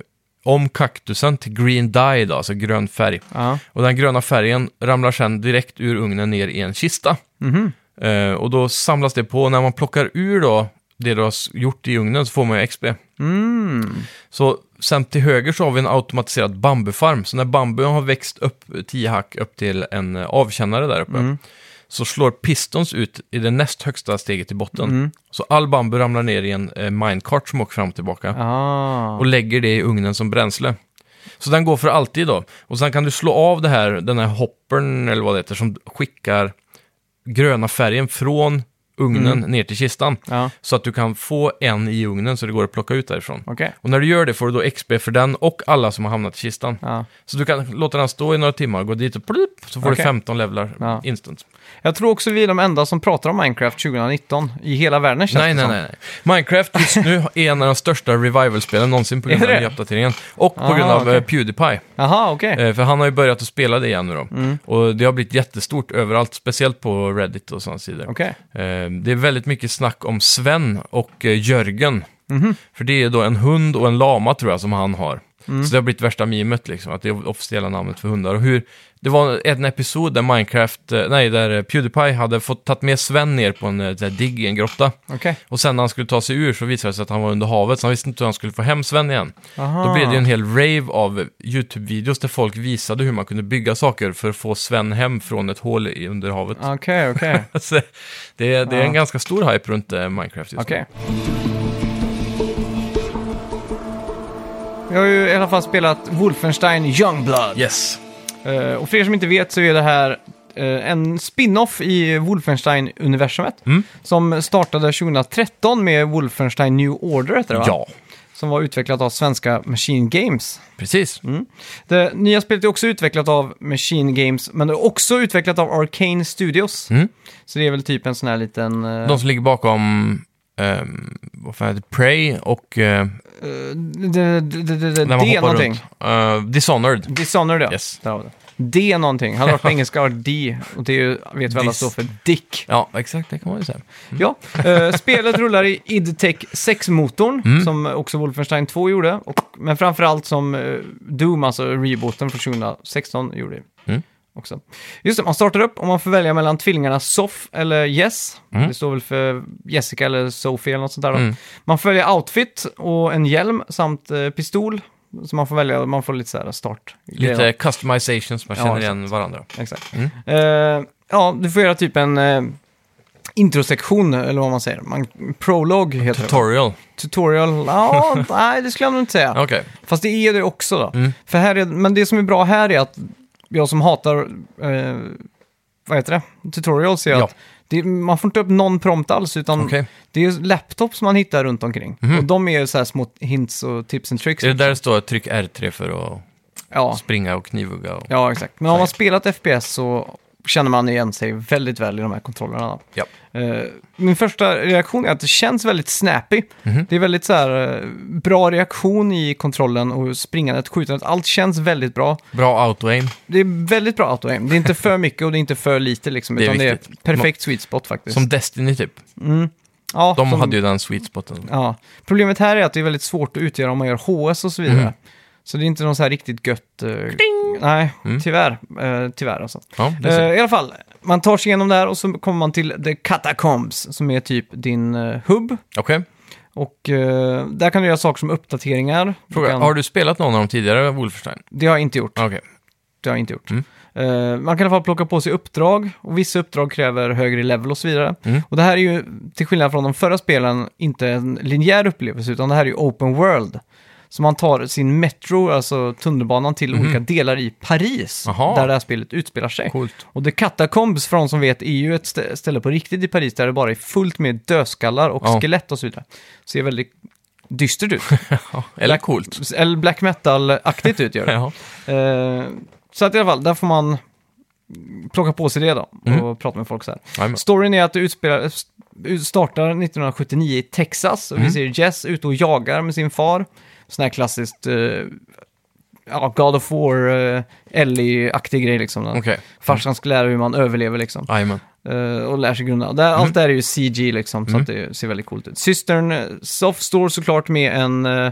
Speaker 2: om kaktusen till green dye, då, alltså grön färg.
Speaker 1: Ja.
Speaker 2: Och den gröna färgen ramlar sedan direkt ur ugnen ner i en kista.
Speaker 1: Mhm.
Speaker 2: Eh, och då samlas det på, och när man plockar ur då det du har s- gjort i ugnen så får man ju XP.
Speaker 1: Mm.
Speaker 2: Så sen till höger så har vi en automatiserad bambufarm. Så när bambun har växt upp 10 hack upp till en eh, avkännare där uppe så slår pistons ut i det näst högsta steget i botten. Så all bambu ramlar ner i en eh, minecart som åker fram och tillbaka
Speaker 1: Ah.
Speaker 2: och lägger det i ugnen som bränsle. Så den går för alltid då. Och sen kan du slå av det här, den här hoppern eller vad det heter som skickar gröna färgen från ugnen
Speaker 1: Mm.
Speaker 2: ner till kistan.
Speaker 1: Ja,
Speaker 2: Så att du kan få en i ugnen så det går att plocka ut därifrån.
Speaker 1: okej.
Speaker 2: Och när du gör det får du då XP för den och alla som har hamnat i kistan.
Speaker 1: Ja.
Speaker 2: Så du kan låta den stå i några timmar, gå dit och plupp, så får
Speaker 1: Okej.
Speaker 2: du 15 levlar
Speaker 1: Ja.
Speaker 2: instant.
Speaker 1: Jag tror också vi är de enda som pratar om Minecraft 2019 i hela världen känns
Speaker 2: Nej,
Speaker 1: det
Speaker 2: nej,
Speaker 1: som.
Speaker 2: nej, nej. Minecraft just nu är en av de största revival-spelen någonsin på grund
Speaker 1: Är
Speaker 2: av
Speaker 1: det?
Speaker 2: den nya uppdateringen. Och på
Speaker 1: Ah,
Speaker 2: grund av
Speaker 1: okej.
Speaker 2: eh, Pewdiepie.
Speaker 1: Jaha, okej.
Speaker 2: Eh, För han har ju börjat att spela det igen nu då. Och det har blivit jättestort överallt, speciellt på Reddit och sådana sidor.
Speaker 1: Okej.
Speaker 2: Eh, Det är väldigt mycket snack om Sven och eh, Jörgen. För det är då en hund och en lama tror jag som han har. Så det har blivit värsta mimet liksom, att det är officiella namnet för hundar. Och hur, det var en episod där Minecraft, eh, nej, där eh, Pewdiepie hade fått tagit med Sven ner på en eh, där digg i en grotta.
Speaker 1: Okej.
Speaker 2: Och sen när han skulle ta sig ur så visade det sig att han var under havet, så han visste inte hur han skulle få hem Sven igen.
Speaker 1: Aha.
Speaker 2: Då blev det ju en hel rave av YouTube-videos där folk visade hur man kunde bygga saker för att få Sven hem från ett hål i- under havet. [LAUGHS]
Speaker 1: Okej, okej.
Speaker 2: Alltså, det, är- det är
Speaker 1: Ja.
Speaker 2: en ganska stor hype runt eh, Minecraft just nu.
Speaker 1: Ah. Okej. Jag har ju i alla fall spelat Wolfenstein Youngblood.
Speaker 2: Yes.
Speaker 1: Eh, och för er som inte vet så är det här eh, en spin-off i Wolfenstein-universumet.
Speaker 2: Mm.
Speaker 1: Som startade 2013 med Wolfenstein New Order, heter det va?
Speaker 2: Ja,
Speaker 1: Som var utvecklat av svenska Machine Games. Mm.
Speaker 2: precis.
Speaker 1: Det nya spelet är också utvecklat av Machine Games, men det är också utvecklat av Arcane Studios.
Speaker 2: Mm.
Speaker 1: Så det är väl typ en sån här liten... eh,
Speaker 2: De som ligger bakom ehm, vad fan heter det? Prey och... Uh,
Speaker 1: eh, d- d- d-
Speaker 2: när
Speaker 1: d-
Speaker 2: man
Speaker 1: D
Speaker 2: hoppar
Speaker 1: någonting.
Speaker 2: runt. Eh, Dishonored.
Speaker 1: Dishonored, ja.
Speaker 2: Yes.
Speaker 1: Där har vi det. D någonting. Hade
Speaker 2: [LAUGHS]
Speaker 1: det varit på engelska hade det varit D. Och det är ju, vet vi alla
Speaker 2: Dis. Mm.
Speaker 1: står för Dick.
Speaker 2: Ja, exakt. Det kan man ju säga.
Speaker 1: Ja, eh, spelet rullar i IdTech 6-motorn,
Speaker 2: Mm.
Speaker 1: som också Wolfenstein 2 gjorde. Och, men framförallt som eh, Doom, alltså rebooten från 2016, gjorde.
Speaker 2: Mm.
Speaker 1: Också. Just det, man startar upp och man får välja mellan tvillingarna Sof eller Yes.
Speaker 2: Mm.
Speaker 1: Det står väl för Jessica eller Sophie eller något sånt där. Då.
Speaker 2: Mm.
Speaker 1: Man får välja outfit och en hjälm samt eh, pistol. Så man får välja, man får lite så här start.
Speaker 2: Lite customizations, man
Speaker 1: Ja,
Speaker 2: känner igen varandra.
Speaker 1: Exakt.
Speaker 2: Mm.
Speaker 1: Eh, ja, du får göra typ en eh, introsektion, eller vad man säger. Man, prolog heter det.
Speaker 2: Tutorial.
Speaker 1: Tutorial?
Speaker 2: [LAUGHS]
Speaker 1: Ja, nej, det skulle jag nog inte säga.
Speaker 2: Okej.
Speaker 1: Fast det är det också då.
Speaker 2: Mm.
Speaker 1: För här är, men det som är bra här är att jag som hatar, eh, vad heter det, tutorials är
Speaker 2: Ja.
Speaker 1: att det, man får inte upp någon prompt alls, utan
Speaker 2: Okej.
Speaker 1: det är laptops man hittar runt omkring.
Speaker 2: Mhm.
Speaker 1: Och de är så här små hints och tips and tricks.
Speaker 2: Är det där det står att tryck R3 för att
Speaker 1: Ja.
Speaker 2: springa och knivhugga? Och...
Speaker 1: Ja, exakt. Men om man spelat FPS så känner man igen sig väldigt väl i de här kontrollerna.
Speaker 2: Ja.
Speaker 1: Eh, min första reaktion är att det känns väldigt snappy.
Speaker 2: Mhm.
Speaker 1: Det är väldigt så här, eh, bra reaktion i kontrollen och springandet, skjutandet. Allt känns väldigt bra.
Speaker 2: Bra auto-aim.
Speaker 1: Det är väldigt bra auto-aim. Det är inte för mycket och det är inte för lite
Speaker 2: [LAUGHS]
Speaker 1: liksom.
Speaker 2: Det är
Speaker 1: utan det är
Speaker 2: viktigt.
Speaker 1: perfekt sweet spot faktiskt.
Speaker 2: Som Destiny typ.
Speaker 1: ja,
Speaker 2: De
Speaker 1: som-
Speaker 2: hade ju den sweet spoten.
Speaker 1: ja. Problemet här är att det är väldigt svårt att utgöra om man gör HS och så vidare.
Speaker 2: Mm.
Speaker 1: Så det är inte någon så här riktigt gött... eh, nej,
Speaker 2: Mm.
Speaker 1: tyvärr. Eh, tyvärr alltså.
Speaker 2: Ja, det ser.
Speaker 1: Eh, I alla fall, man tar sig igenom där och så kommer man till The Catacombs som är typ din eh, hubb.
Speaker 2: Okej.
Speaker 1: Och eh, där kan du göra saker som uppdateringar. Du
Speaker 2: Fråga,
Speaker 1: kan,
Speaker 2: har du spelat någon av dem tidigare, Wolfenstein?
Speaker 1: Det har jag inte gjort.
Speaker 2: Okej.
Speaker 1: Det har jag inte gjort.
Speaker 2: Mm.
Speaker 1: Eh, man kan i alla fall plocka på sig uppdrag och vissa uppdrag kräver högre level och så vidare.
Speaker 2: Mm.
Speaker 1: Och det här är ju, till skillnad från de förra spelen, inte en linjär upplevelse utan det här är ju open world. Så man tar sin metro, alltså tunnelbanan, till olika delar i Paris,
Speaker 2: Mhm. Aha.
Speaker 1: där det här spelet utspelar sig.
Speaker 2: Coolt.
Speaker 1: Och The Catacombs, för de som vet, är ju ett stä- ställe på riktigt i Paris där det bara är fullt med dödskallar och
Speaker 2: Ja.
Speaker 1: skelett och så vidare. Ser väldigt
Speaker 2: [LAUGHS]
Speaker 1: dystert ut.
Speaker 2: Ja, eller coolt.
Speaker 1: Eller black metal-aktigt ut gör det.
Speaker 2: Ja.
Speaker 1: Eh, så att i alla fall, där får man plocka på sig det då och
Speaker 2: Mm.
Speaker 1: prata med folk så här.
Speaker 2: Jajamän.
Speaker 1: Storyn är att det utspelar, ut- startar 1979 i Texas och
Speaker 2: Mm.
Speaker 1: vi ser Jess ute och jagar med sin far. Sån här klassiskt eh, ja, God of War, eh, Ellie-aktig grej liksom.
Speaker 2: Okej.
Speaker 1: Farsan ska lära hur man överlever liksom.
Speaker 2: Jajamän.
Speaker 1: Eh, och lär sig grunderna. Där,
Speaker 2: Mhm.
Speaker 1: Allt det här är ju CG liksom, så att det ser väldigt coolt ut. Systern eh, Soft står såklart med en eh,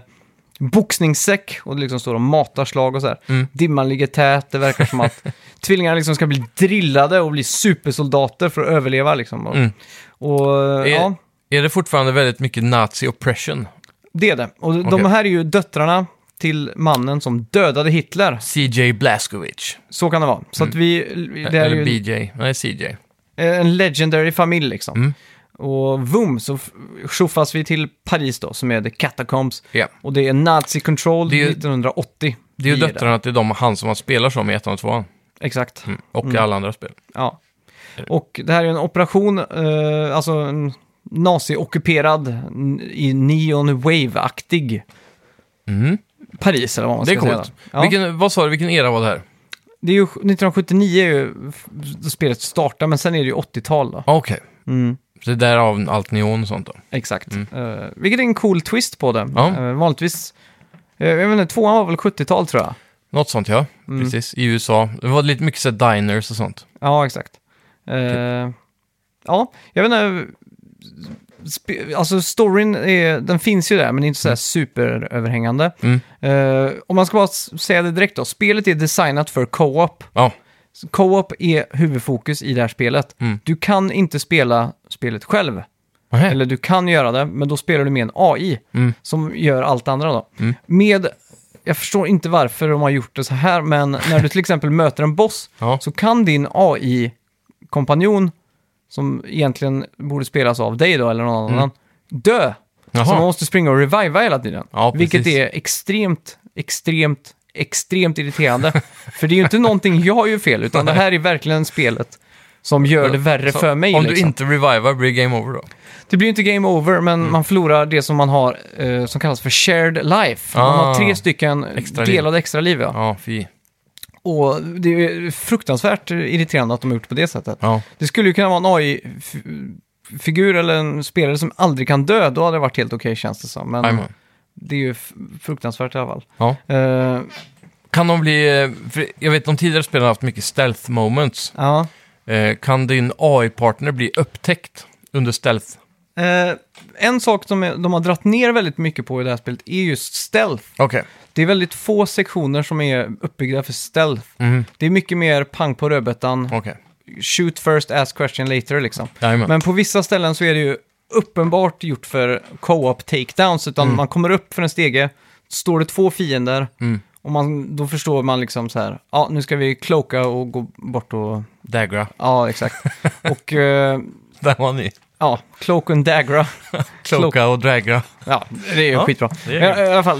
Speaker 1: boxningssäck och det liksom står och matar slag och så här.
Speaker 2: Mm.
Speaker 1: Dimman ligger tät, det verkar
Speaker 2: [LAUGHS]
Speaker 1: som att tvillingarna liksom ska bli drillade och bli supersoldater för att överleva liksom. Och,
Speaker 2: Mm.
Speaker 1: och eh,
Speaker 2: Är-
Speaker 1: ja,
Speaker 2: Är det fortfarande väldigt mycket nazi oppression?
Speaker 1: det är det. Och de
Speaker 2: Okej.
Speaker 1: här är ju döttrarna till mannen som dödade Hitler.
Speaker 2: CJ Blaskovic.
Speaker 1: Så kan det vara. Så att vi... Det är
Speaker 2: Mm. Eller
Speaker 1: ju...
Speaker 2: BJ. Nej, CJ.
Speaker 1: Eh, En legendary familj liksom.
Speaker 2: Mm.
Speaker 1: Och vum så f- tjoffas vi till Paris då, som är The Catacombs.
Speaker 2: Ja.
Speaker 1: Och det är nazi control
Speaker 2: Det är ju-
Speaker 1: 1980.
Speaker 2: Det är ju
Speaker 1: Vi där.
Speaker 2: döttrarna till de han som han spelar som i ettan Mm. och tvåan.
Speaker 1: Exakt.
Speaker 2: Och i alla andra spel.
Speaker 1: Ja. Och det här är en operation, eh, alltså en nazi-ockuperad n- i neon wave-aktig
Speaker 2: Mm.
Speaker 1: Paris eller vad man
Speaker 2: Det
Speaker 1: ska
Speaker 2: är coolt.
Speaker 1: säga. Ja.
Speaker 2: Vilken, vad sa du, vilken era var det här?
Speaker 1: Det är ju, 1979 är ju f- då spelet startar, men sen är det ju 80-tal då.
Speaker 2: Ah, Okej.
Speaker 1: Mm,
Speaker 2: Så det är därav allt neon och sånt då.
Speaker 1: exakt. Eh, vilket är en cool twist på det.
Speaker 2: Mm. Ja.
Speaker 1: Eh, vanligtvis, eh, jag vet inte, tvåan var väl 70-tal tror jag.
Speaker 2: Något sånt ja,
Speaker 1: Mm.
Speaker 2: precis. I USA. Det var lite mycket så här diners och sånt.
Speaker 1: Ja, exakt.
Speaker 2: Typ.
Speaker 1: Eh, ja, jag vet inte. sp- Alltså storyn är, den finns ju där, men inte så här superöverhängande.
Speaker 2: Mm.
Speaker 1: Eh, om man ska bara s- säga det direkt då. Spelet är designat för co-op.
Speaker 2: Ja,
Speaker 1: Så Co-op är huvudfokus i det här spelet.
Speaker 2: Mm.
Speaker 1: Du kan inte spela spelet själv.
Speaker 2: Nähä.
Speaker 1: Eller du kan göra det, men då spelar du med en AI
Speaker 2: Mm.
Speaker 1: som gör allt andra då.
Speaker 2: Mm.
Speaker 1: Med, jag förstår inte varför de har gjort det så här, men när du till exempel möter en boss
Speaker 2: Ja.
Speaker 1: så kan din AI-kompanjon, som egentligen borde spelas av dig då eller någon annan, dö.
Speaker 2: Mm. Jaha.
Speaker 1: Så man måste springa och reviva hela tiden.
Speaker 2: Ja, precis.
Speaker 1: vilket är extremt, extremt,
Speaker 2: [LAUGHS]
Speaker 1: extremt irriterande. för det är ju inte någonting jag gör fel, utan det här är verkligen spelet som gör det värre
Speaker 2: Så
Speaker 1: för mig.
Speaker 2: Om du
Speaker 1: liksom.
Speaker 2: inte revivar blir det game over då?
Speaker 1: Det blir ju inte game over, men
Speaker 2: Mm.
Speaker 1: man förlorar det som man har eh, som kallas för shared life.
Speaker 2: Ah.
Speaker 1: man har tre stycken
Speaker 2: Extra liv.
Speaker 1: delade extra liv. Ja.
Speaker 2: Ja, fy.
Speaker 1: Och det är fruktansvärt irriterande att de har gjort på det sättet.
Speaker 2: Ja.
Speaker 1: Det skulle ju kunna vara en AI-figur eller en spelare som aldrig kan dö. Då hade det varit helt okej känns det som. Men
Speaker 2: Jajamän.
Speaker 1: det är ju f- fruktansvärt i alla fall.
Speaker 2: ja.
Speaker 1: Eh,
Speaker 2: Kan de bli... eh, För jag vet de tidigare spelarna har haft mycket stealth moments.
Speaker 1: ja.
Speaker 2: Eh, kan din AI-partner bli upptäckt under stealth?
Speaker 1: Eh, en sak som är- de har dratt ner väldigt mycket på i det här spelet är just stealth.
Speaker 2: Okej.
Speaker 1: Det är väldigt få sektioner som är uppbyggda för stealth.
Speaker 2: Mm.
Speaker 1: Det är mycket mer pang på rödbetan,
Speaker 2: Okej.
Speaker 1: shoot first, ask question later liksom.
Speaker 2: Jajamän.
Speaker 1: Men på vissa ställen så är det ju uppenbart gjort för co-op takedowns, utan man kommer upp för en stege, står det två fiender,
Speaker 2: Mm.
Speaker 1: och man, då förstår man liksom så här, ja nu ska vi cloaka och gå bort och,
Speaker 2: Dagra.
Speaker 1: ja exakt. och eh,
Speaker 2: [LAUGHS] Där var ni.
Speaker 1: ja, cloak and dagra.
Speaker 2: Cloaka och dragra.
Speaker 1: Ja, det är ju
Speaker 2: Ja,
Speaker 1: skitbra.
Speaker 2: det är Mm.
Speaker 1: I, I alla fall,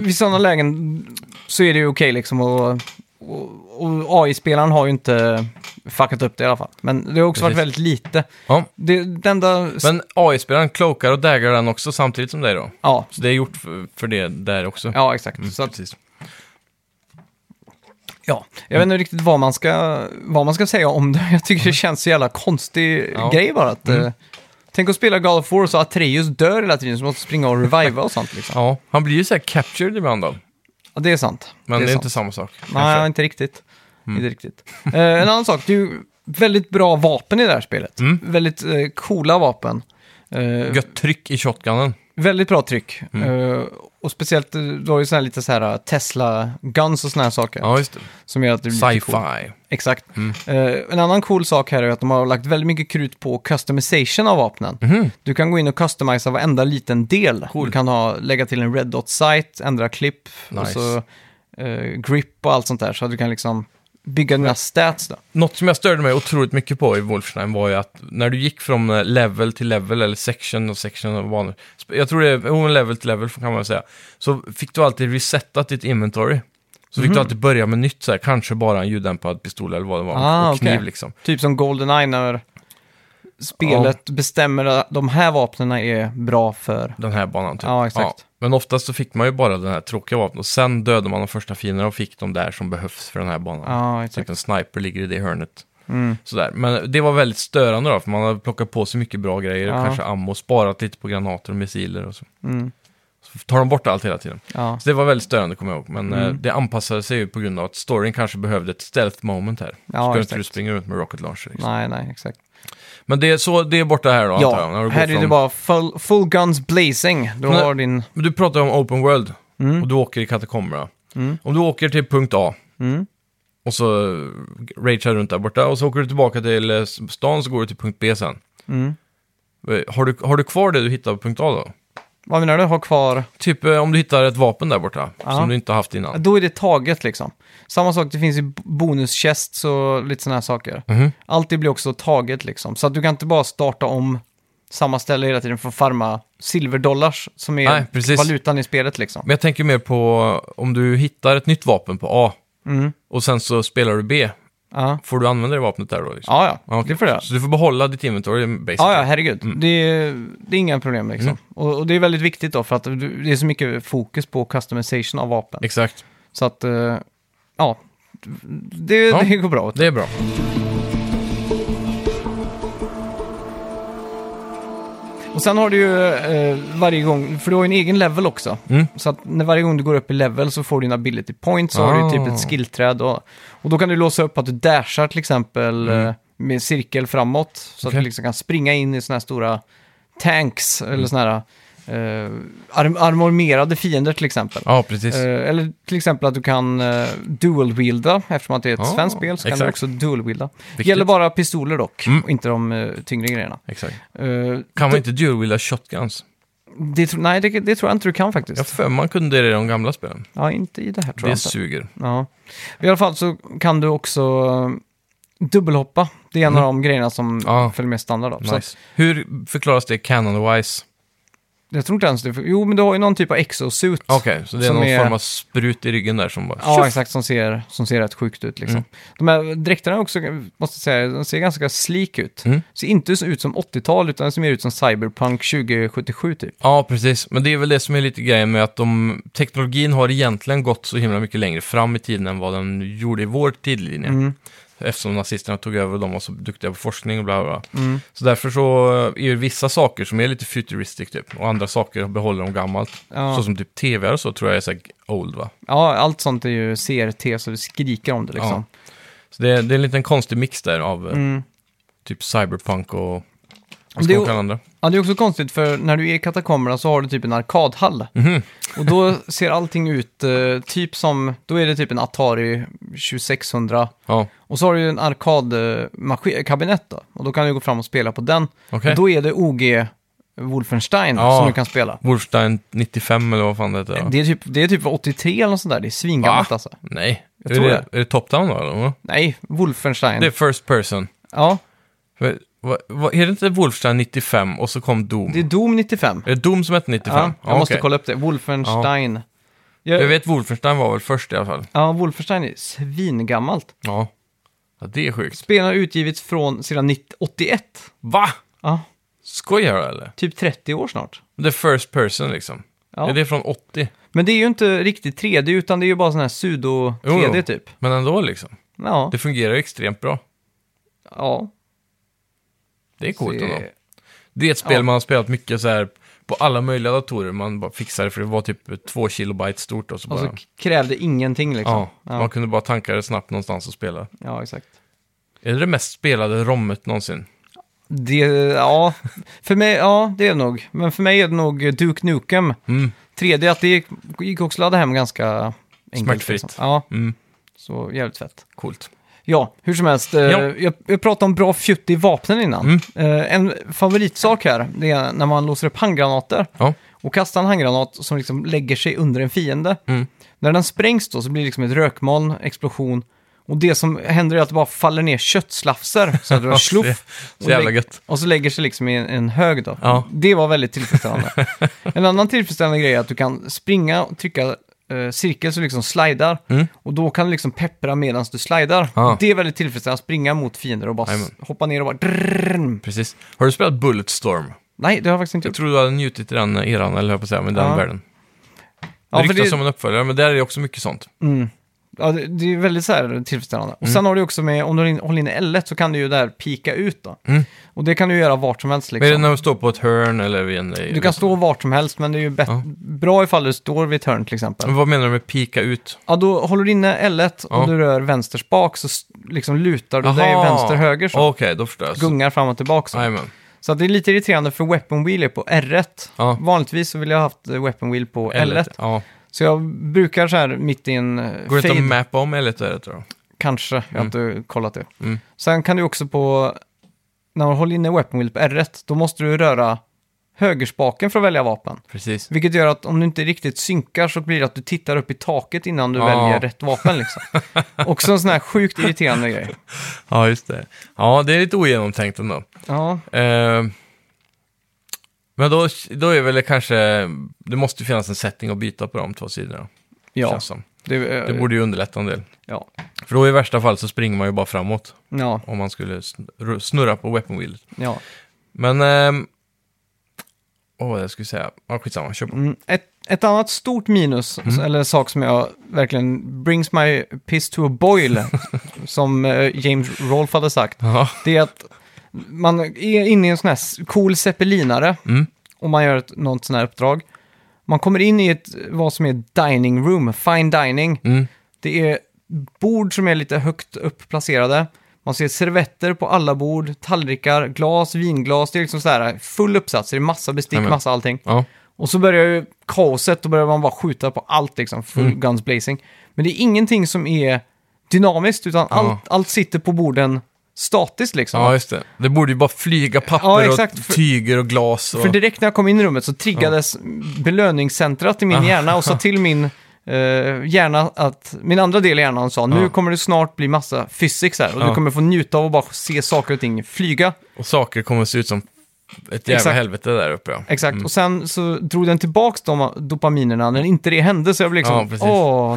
Speaker 1: vid sådana lägen så är det ju okej liksom och, och, och AI-spelaren har ju inte fuckat upp det i alla fall. Men det har också varit
Speaker 2: Precis.
Speaker 1: väldigt lite.
Speaker 2: Ja.
Speaker 1: Det, det enda...
Speaker 2: Men AI-spelaren cloakar och daggar den också samtidigt som dig då?
Speaker 1: ja,
Speaker 2: Så det är gjort för, för det där också?
Speaker 1: ja, exakt.
Speaker 2: Mm.
Speaker 1: Så att,
Speaker 2: precis.
Speaker 1: ja. Jag
Speaker 2: Mm.
Speaker 1: vet inte riktigt vad man, ska, vad man ska säga om det. Jag tycker det känns så jävla konstig
Speaker 2: Ja. Mm.
Speaker 1: grej bara. Att, eh, Tänk att spela God of War och så Atreus dör hela tiden så måste springa och reviva och sånt liksom.
Speaker 2: Ja, han blir ju så här captured ibland då.
Speaker 1: Ja, det är sant.
Speaker 2: Men det är,
Speaker 1: sant.
Speaker 2: inte samma sak.
Speaker 1: Nej,
Speaker 2: kanske. Mm.
Speaker 1: inte riktigt. Inte riktigt. Eh, en annan sak, det är ju väldigt bra vapen i det här spelet. Väldigt eh, coola vapen. Eh,
Speaker 2: Mm. Gött Mm. tryck i shotgunen.
Speaker 1: väldigt bra tryck. Eh, och speciellt, eh, du har ju såna här lite så här eh, Tesla-guns och såna här saker.
Speaker 2: Ja, just det.
Speaker 1: Som gör att det blir lite coolt.
Speaker 2: Sci-fi.
Speaker 1: Exakt.
Speaker 2: Mm.
Speaker 1: Eh, en annan cool sak här är att de har lagt väldigt mycket krut på customization av vapnen.
Speaker 2: Mhm.
Speaker 1: Du kan gå in och customisa varenda liten del. Du kan ha, lägga till en red dot sight, ändra klipp, och
Speaker 2: Nice.
Speaker 1: så, eh, grip och allt sånt där. Så att du kan liksom bygga dina stats då.
Speaker 2: Något som jag störde mig otroligt mycket på i Wolfenstein var ju att när du gick från eh, level till level, eller section och section och banor, sp- jag tror det är jo, level till level kan man väl säga, så fick du alltid resetat ditt inventory. Så
Speaker 1: Mhm.
Speaker 2: fick du alltid börja med nytt, så här, kanske bara en ljuddämpad pistol eller vad det var,
Speaker 1: Ah,
Speaker 2: och kniv
Speaker 1: okej.
Speaker 2: liksom.
Speaker 1: Typ som Goldeneye när spelet bestämmer att de här vapnen är bra för...
Speaker 2: Den här banan typ.
Speaker 1: Ja, exakt.
Speaker 2: Men oftast så fick man ju bara den här tråkiga vapnet och sen dödade man de första fienderna och fick de där som behövs för den här banan.
Speaker 1: Ja, exakt.
Speaker 2: Typ en sniper ligger i det hörnet.
Speaker 1: Mm.
Speaker 2: Sådär. Men det var väldigt störande då, för man hade plockat på sig mycket bra grejer,
Speaker 1: Ja.
Speaker 2: kanske ammo, sparat lite på granater och missiler och så.
Speaker 1: Mm.
Speaker 2: Så tar de bort allt hela tiden.
Speaker 1: Ja.
Speaker 2: Så det var väldigt störande kommer jag ihåg, men eh,
Speaker 1: Mm.
Speaker 2: det anpassade sig ju på grund av att storyn kanske behövde ett stealth moment här.
Speaker 1: Ja,
Speaker 2: så kunde inte
Speaker 1: exakt.
Speaker 2: du springa runt med rocket launcher. Liksom.
Speaker 1: Nej, nej, exakt.
Speaker 2: Men det är, så, det är borta här då, antar jag. när
Speaker 1: Ja,
Speaker 2: du går
Speaker 1: här är det
Speaker 2: från-
Speaker 1: bara full, full guns blazing. Du
Speaker 2: Men-
Speaker 1: har din...
Speaker 2: Men du pratar ju om open world och du åker i katakomberna. Om du åker till punkt A
Speaker 1: Mm.
Speaker 2: och så ragear runt där borta och så åker du tillbaka till eh, stan så går du till punkt B sen.
Speaker 1: Mm.
Speaker 2: Eh, Har du, har du kvar det du hittade på punkt A då?
Speaker 1: Vad menar du? Har kvar...
Speaker 2: Typ eh, om du hittar ett vapen där borta
Speaker 1: Ja.
Speaker 2: som du inte har haft innan.
Speaker 1: Då är det taget liksom. Samma sak, det finns ju bonuskäst och lite sådana här saker.
Speaker 2: Mhm.
Speaker 1: Allt det blir också taget liksom. Så att du kan inte bara starta om samma ställe hela tiden för att farma silverdollars som är
Speaker 2: Nej, precis.
Speaker 1: valutan i spelet liksom.
Speaker 2: Men jag tänker mer på om du hittar ett nytt vapen på A
Speaker 1: Mm.
Speaker 2: och sen så spelar du B.
Speaker 1: Ja,
Speaker 2: Får du använda det vapnet där då? Liksom?
Speaker 1: ja, ja.
Speaker 2: Okej. Mm.
Speaker 1: det får jag.
Speaker 2: Så du får behålla ditt inventory basically?
Speaker 1: Ja, ja, herregud. Det, är- det är inga problem liksom.
Speaker 2: Mm.
Speaker 1: Och, och det är väldigt viktigt då för att du- det är så mycket fokus på customization av vapen.
Speaker 2: Exakt.
Speaker 1: Så att, eh, ja. Det,
Speaker 2: Ja.
Speaker 1: det går bra.
Speaker 2: Det är bra.
Speaker 1: Och sen har du ju eh, varje gång, för du har ju en egen level också.
Speaker 2: Mm.
Speaker 1: Så att när varje gång du går upp i level så får du en ability point, så har du ju typ
Speaker 2: Ah.
Speaker 1: ett skillträd. Och, och då kan du låsa upp att du dashar till exempel
Speaker 2: Mm.
Speaker 1: eh, med en cirkel framåt. Så att
Speaker 2: Okej.
Speaker 1: du liksom kan springa in i sådana här stora tanks,
Speaker 2: Mm.
Speaker 1: eller sådana här eh, arm- armormerade fiender till exempel.
Speaker 2: Ja, precis.
Speaker 1: Eh, eller till exempel att du kan eh, dual-wielda, eftersom att det är ett
Speaker 2: Ah,
Speaker 1: svenskt spel så kan du
Speaker 2: exakt.
Speaker 1: också dual-wielda. Det
Speaker 2: Viktigt.
Speaker 1: gäller bara pistoler dock,
Speaker 2: Mm.
Speaker 1: och inte de eh, tyngre grejerna.
Speaker 2: Exakt.
Speaker 1: Eh,
Speaker 2: Kan man inte dual-wheela shotguns?
Speaker 1: det, tro- nej, det, det tror jag inte du kan faktiskt.
Speaker 2: Jag har för mig man kunde det i de gamla spelen.
Speaker 1: Ja, inte i det här tror
Speaker 2: Det
Speaker 1: jag inte.
Speaker 2: suger.
Speaker 1: Ja. I alla fall så kan du också eh, dubbelhoppa. Det är en
Speaker 2: Mm.
Speaker 1: av de grejerna som
Speaker 2: Ja.
Speaker 1: följer med standard. Då. Så
Speaker 2: Nice. Hur förklaras det canon-wise?
Speaker 1: jag tror inte ens det. Jo, men du har ju någon typ av exosuit.
Speaker 2: Okej, så det är
Speaker 1: Som
Speaker 2: någon
Speaker 1: är-
Speaker 2: form av sprut i ryggen där som bara...
Speaker 1: Ja, exakt. Som ser, som ser rätt sjukt ut liksom.
Speaker 2: Mm.
Speaker 1: De här dräkterna också, måste jag säga, de ser ganska sleek ut.
Speaker 2: Mm.
Speaker 1: Ser inte så ut som 80-tal, utan det ser mer ut som Cyberpunk 2077 typ.
Speaker 2: Ja, precis. Men det är väl det som är lite grejen med att de, teknologin har egentligen gått så himla mycket längre fram i tiden än vad den gjorde i vår tidlinje.
Speaker 1: Mm.
Speaker 2: Eftersom nazisterna tog över och de var så duktiga på forskning och bla bla bla.
Speaker 1: Mm.
Speaker 2: Så därför så är ju vissa saker som är lite futuristic typ och andra saker behåller de gammalt.
Speaker 1: Ja.
Speaker 2: Så som typ tv och så tror jag är så här old va.
Speaker 1: ja, allt sånt är ju CRT, så det skriker om det liksom.
Speaker 2: Så det är, det är en liten konstig mix där av eh,
Speaker 1: Mm.
Speaker 2: typ cyberpunk och vad
Speaker 1: Det
Speaker 2: ska
Speaker 1: är
Speaker 2: man
Speaker 1: o-
Speaker 2: kalla andra?
Speaker 1: Ja, det är också konstigt för när du är i katakomberna så har du typ en arkadhall.
Speaker 2: Mhm.
Speaker 1: Och då ser allting ut eh, typ som, då är det typ en Atari 2600.
Speaker 2: Ja,
Speaker 1: Och så har du ju en arkadkabinett då. Och då kan du gå fram och spela på den.
Speaker 2: okej.
Speaker 1: Och då är det OG Wolfenstein
Speaker 2: Ja.
Speaker 1: som du kan spela.
Speaker 2: Wolfstein 95 eller vad fan det heter. va?
Speaker 1: Det är, typ, det är typ 83 eller något sånt där, det är svingammalt
Speaker 2: Va?
Speaker 1: alltså.
Speaker 2: Nej,
Speaker 1: Jag
Speaker 2: är,
Speaker 1: tror
Speaker 2: det, Mm.
Speaker 1: det.
Speaker 2: är det top down då eller?
Speaker 1: Nej, Wolfenstein.
Speaker 2: Det är first person.
Speaker 1: Ja,
Speaker 2: Va, va, va, är det inte Wolfstein 95 och så kom Doom?
Speaker 1: det är Doom 95.
Speaker 2: Är det Doom som hette 95?
Speaker 1: Ja, jag
Speaker 2: Ja,
Speaker 1: måste
Speaker 2: okej.
Speaker 1: kolla upp det. Wolfenstein. Jag,
Speaker 2: Jag vet Wolfenstein var väl först i alla fall.
Speaker 1: Ja, Wolfenstein är svingammalt.
Speaker 2: Ja. ja det är sjukt.
Speaker 1: Spelen har utgivits från sedan 90 81.
Speaker 2: Va?
Speaker 1: Ja,
Speaker 2: Skojar du eller?
Speaker 1: typ 30 år snart.
Speaker 2: Det är first person liksom.
Speaker 1: Ja.
Speaker 2: Är det från 80?
Speaker 1: Men det är ju inte riktigt 3D, utan det är ju bara sån här
Speaker 2: Jo, jo.
Speaker 1: pseudo-3D typ.
Speaker 2: Men ändå liksom.
Speaker 1: Ja,
Speaker 2: Det fungerar extremt bra.
Speaker 1: ja.
Speaker 2: Det är coolt
Speaker 1: Se-
Speaker 2: ändå. Det är ett spel
Speaker 1: Ja.
Speaker 2: man har spelat mycket så här på alla möjliga datorer. Man bara fixade det för det var typ två kilobyte stort och så
Speaker 1: Och
Speaker 2: bara...
Speaker 1: så k- krävde ingenting liksom.
Speaker 2: Alltså ja,
Speaker 1: ja.
Speaker 2: man kunde bara tanka det snabbt någonstans och spela.
Speaker 1: ja exakt.
Speaker 2: Är det det mest spelade rommet någonsin?
Speaker 1: Det, ja, för mig, ja det är det nog. Men för mig är det nog Duke Nukem.
Speaker 2: Mm.
Speaker 1: 3D, att det gick- gick också att ladda hem ganska enkelt.
Speaker 2: Smärtfritt.
Speaker 1: Liksom. Ja,
Speaker 2: Mm,
Speaker 1: så jävligt fett.
Speaker 2: coolt.
Speaker 1: Ja, hur som helst. eh,
Speaker 2: Ja. Mm.
Speaker 1: Jag, jag pratade om bra fjutt i vapnen innan. Eh, En favoritsak här, det är när man låser upp handgranater.
Speaker 2: Ja.
Speaker 1: och kastar en handgranat som liksom lägger sig under en fiende.
Speaker 2: Mm.
Speaker 1: När den sprängs då så blir det liksom ett rökmoln, explosion. Och det som händer är att det bara faller ner köttslafsar.
Speaker 2: [LAUGHS]
Speaker 1: Så att det bara sluff.
Speaker 2: Så jävla gött.
Speaker 1: Och så lägger sig liksom i en, en hög då.
Speaker 2: Ja.
Speaker 1: Det var väldigt tillfredsställande. en annan tillfredsställande grej är att du kan springa och trycka eh, cirkel så liksom slidar.
Speaker 2: Mm.
Speaker 1: Och då kan du liksom peppra medan du slidar.
Speaker 2: Ja.
Speaker 1: Det är väldigt tillfredsställande, att springa mot fiender och bara s-
Speaker 2: Jajamän.
Speaker 1: hoppa ner och bara... drrrrrn.
Speaker 2: Precis. Har du spelat Bulletstorm?
Speaker 1: Nej, det har jag faktiskt inte
Speaker 2: Jag
Speaker 1: gjort.
Speaker 2: tror du hade njutit i den eran, eller hur jag på att säga, med den
Speaker 1: Ja.
Speaker 2: världen. Det
Speaker 1: Ja, för
Speaker 2: ryktas
Speaker 1: det-
Speaker 2: som en uppföljare, men där är det också mycket sånt.
Speaker 1: Mm. Ja, det, det är väldigt så här tillfredsställande. Och sen har du också med, om du håller in L1 så kan du ju där pika ut då.
Speaker 2: Mm.
Speaker 1: Och det kan du göra vart som helst
Speaker 2: Men är det
Speaker 1: liksom.
Speaker 2: när du står på ett hörn eller vid en...
Speaker 1: Du kan stå vart som helst, men det är ju bet-
Speaker 2: Ja.
Speaker 1: bra ifall du står vid ett hörn till exempel.
Speaker 2: Men vad menar du med pika ut?
Speaker 1: Ja, då håller du inne L1 och
Speaker 2: Ja.
Speaker 1: du rör vänster spak så s- liksom lutar du dig vänster höger så.
Speaker 2: Okej, då förstår jag. Så-
Speaker 1: Gungar fram och tillbaka. Så.
Speaker 2: Jajamän.
Speaker 1: så att det är lite irriterande för Weapon Wheel är på R1.
Speaker 2: Ja.
Speaker 1: Vanligtvis så vill jag ha haft eh, Weapon Wheel på L1.
Speaker 2: L1. Ja.
Speaker 1: Så jag brukar så här mitt i en eh,
Speaker 2: Går det inte
Speaker 1: fade
Speaker 2: att mappa om L1 och R1 då?
Speaker 1: Kanske, jag har inte kollat det.
Speaker 2: Mm.
Speaker 1: Sen kan du också på, när man håller inne weapon wheel på R1, då måste du röra högerspaken för att välja vapen.
Speaker 2: Precis.
Speaker 1: Vilket gör att om du inte riktigt synkar så blir det att du tittar upp i taket innan du
Speaker 2: Ja.
Speaker 1: väljer rätt
Speaker 2: [LAUGHS]
Speaker 1: vapen liksom. också en sån här sjukt irriterande grej.
Speaker 2: Ja, just det. Ja, det är lite ogenomtänkt ändå.
Speaker 1: Ja,
Speaker 2: Eh, men då, då är väl det kanske... Det måste ju finnas en setting att byta på de två sidorna.
Speaker 1: ja.
Speaker 2: Känns som.
Speaker 1: Det, eh,
Speaker 2: Det borde ju underlätta en del.
Speaker 1: ja.
Speaker 2: För då i värsta fall så springer man ju bara framåt
Speaker 1: Ja,
Speaker 2: om man skulle snurr- snurra på weapon wheelet.
Speaker 1: ja.
Speaker 2: Men... ehm, Åh, vad jag skulle säga. Ja, skitsamma. Kör på.
Speaker 1: Mm. Ett, ett annat stort minus,
Speaker 2: Mhm.
Speaker 1: eller sak som jag verkligen brings my piss to a boil,
Speaker 2: [LAUGHS]
Speaker 1: som eh, James Rolfe hade sagt,
Speaker 2: Ja.
Speaker 1: det är att man är inne i en sån här s- cool zeppelinare
Speaker 2: Mm.
Speaker 1: och man gör ett, något sån här uppdrag. Man kommer in i ett, vad som är dining room, fine dining.
Speaker 2: Mm.
Speaker 1: Det är bord som är lite högt uppplacerade. Man ser servetter på alla bord, tallrikar, glas, vinglas. Det är liksom så här full uppsats. Det är massa bestick,
Speaker 2: Jajamän.
Speaker 1: massa allting.
Speaker 2: Ja.
Speaker 1: Och så börjar ju kaoset, då börjar man bara skjuta på allt liksom, full guns blazing. Men det är ingenting som är dynamiskt, utan allt, allt sitter på borden statiskt liksom.
Speaker 2: ja, just det. Det borde ju bara flyga papper
Speaker 1: Ja, exakt, för-
Speaker 2: och tyger och glas. Och...
Speaker 1: För direkt när jag kom in i rummet så triggades belöningscentrat i
Speaker 2: Ah.
Speaker 1: min hjärna och sa till min eh, hjärna att, min andra del i hjärnan sa nu
Speaker 2: Ja.
Speaker 1: kommer det snart bli massa physics här och du
Speaker 2: Ja.
Speaker 1: kommer få njuta av att bara se saker och ting flyga.
Speaker 2: Och saker kommer se ut som ett jävla
Speaker 1: Exakt.
Speaker 2: helvete där uppe. Ja.
Speaker 1: Exakt, och sen så drog den tillbaka de dopaminerna när inte det hände så jag blev
Speaker 2: Ja,
Speaker 1: liksom,
Speaker 2: precis.
Speaker 1: åh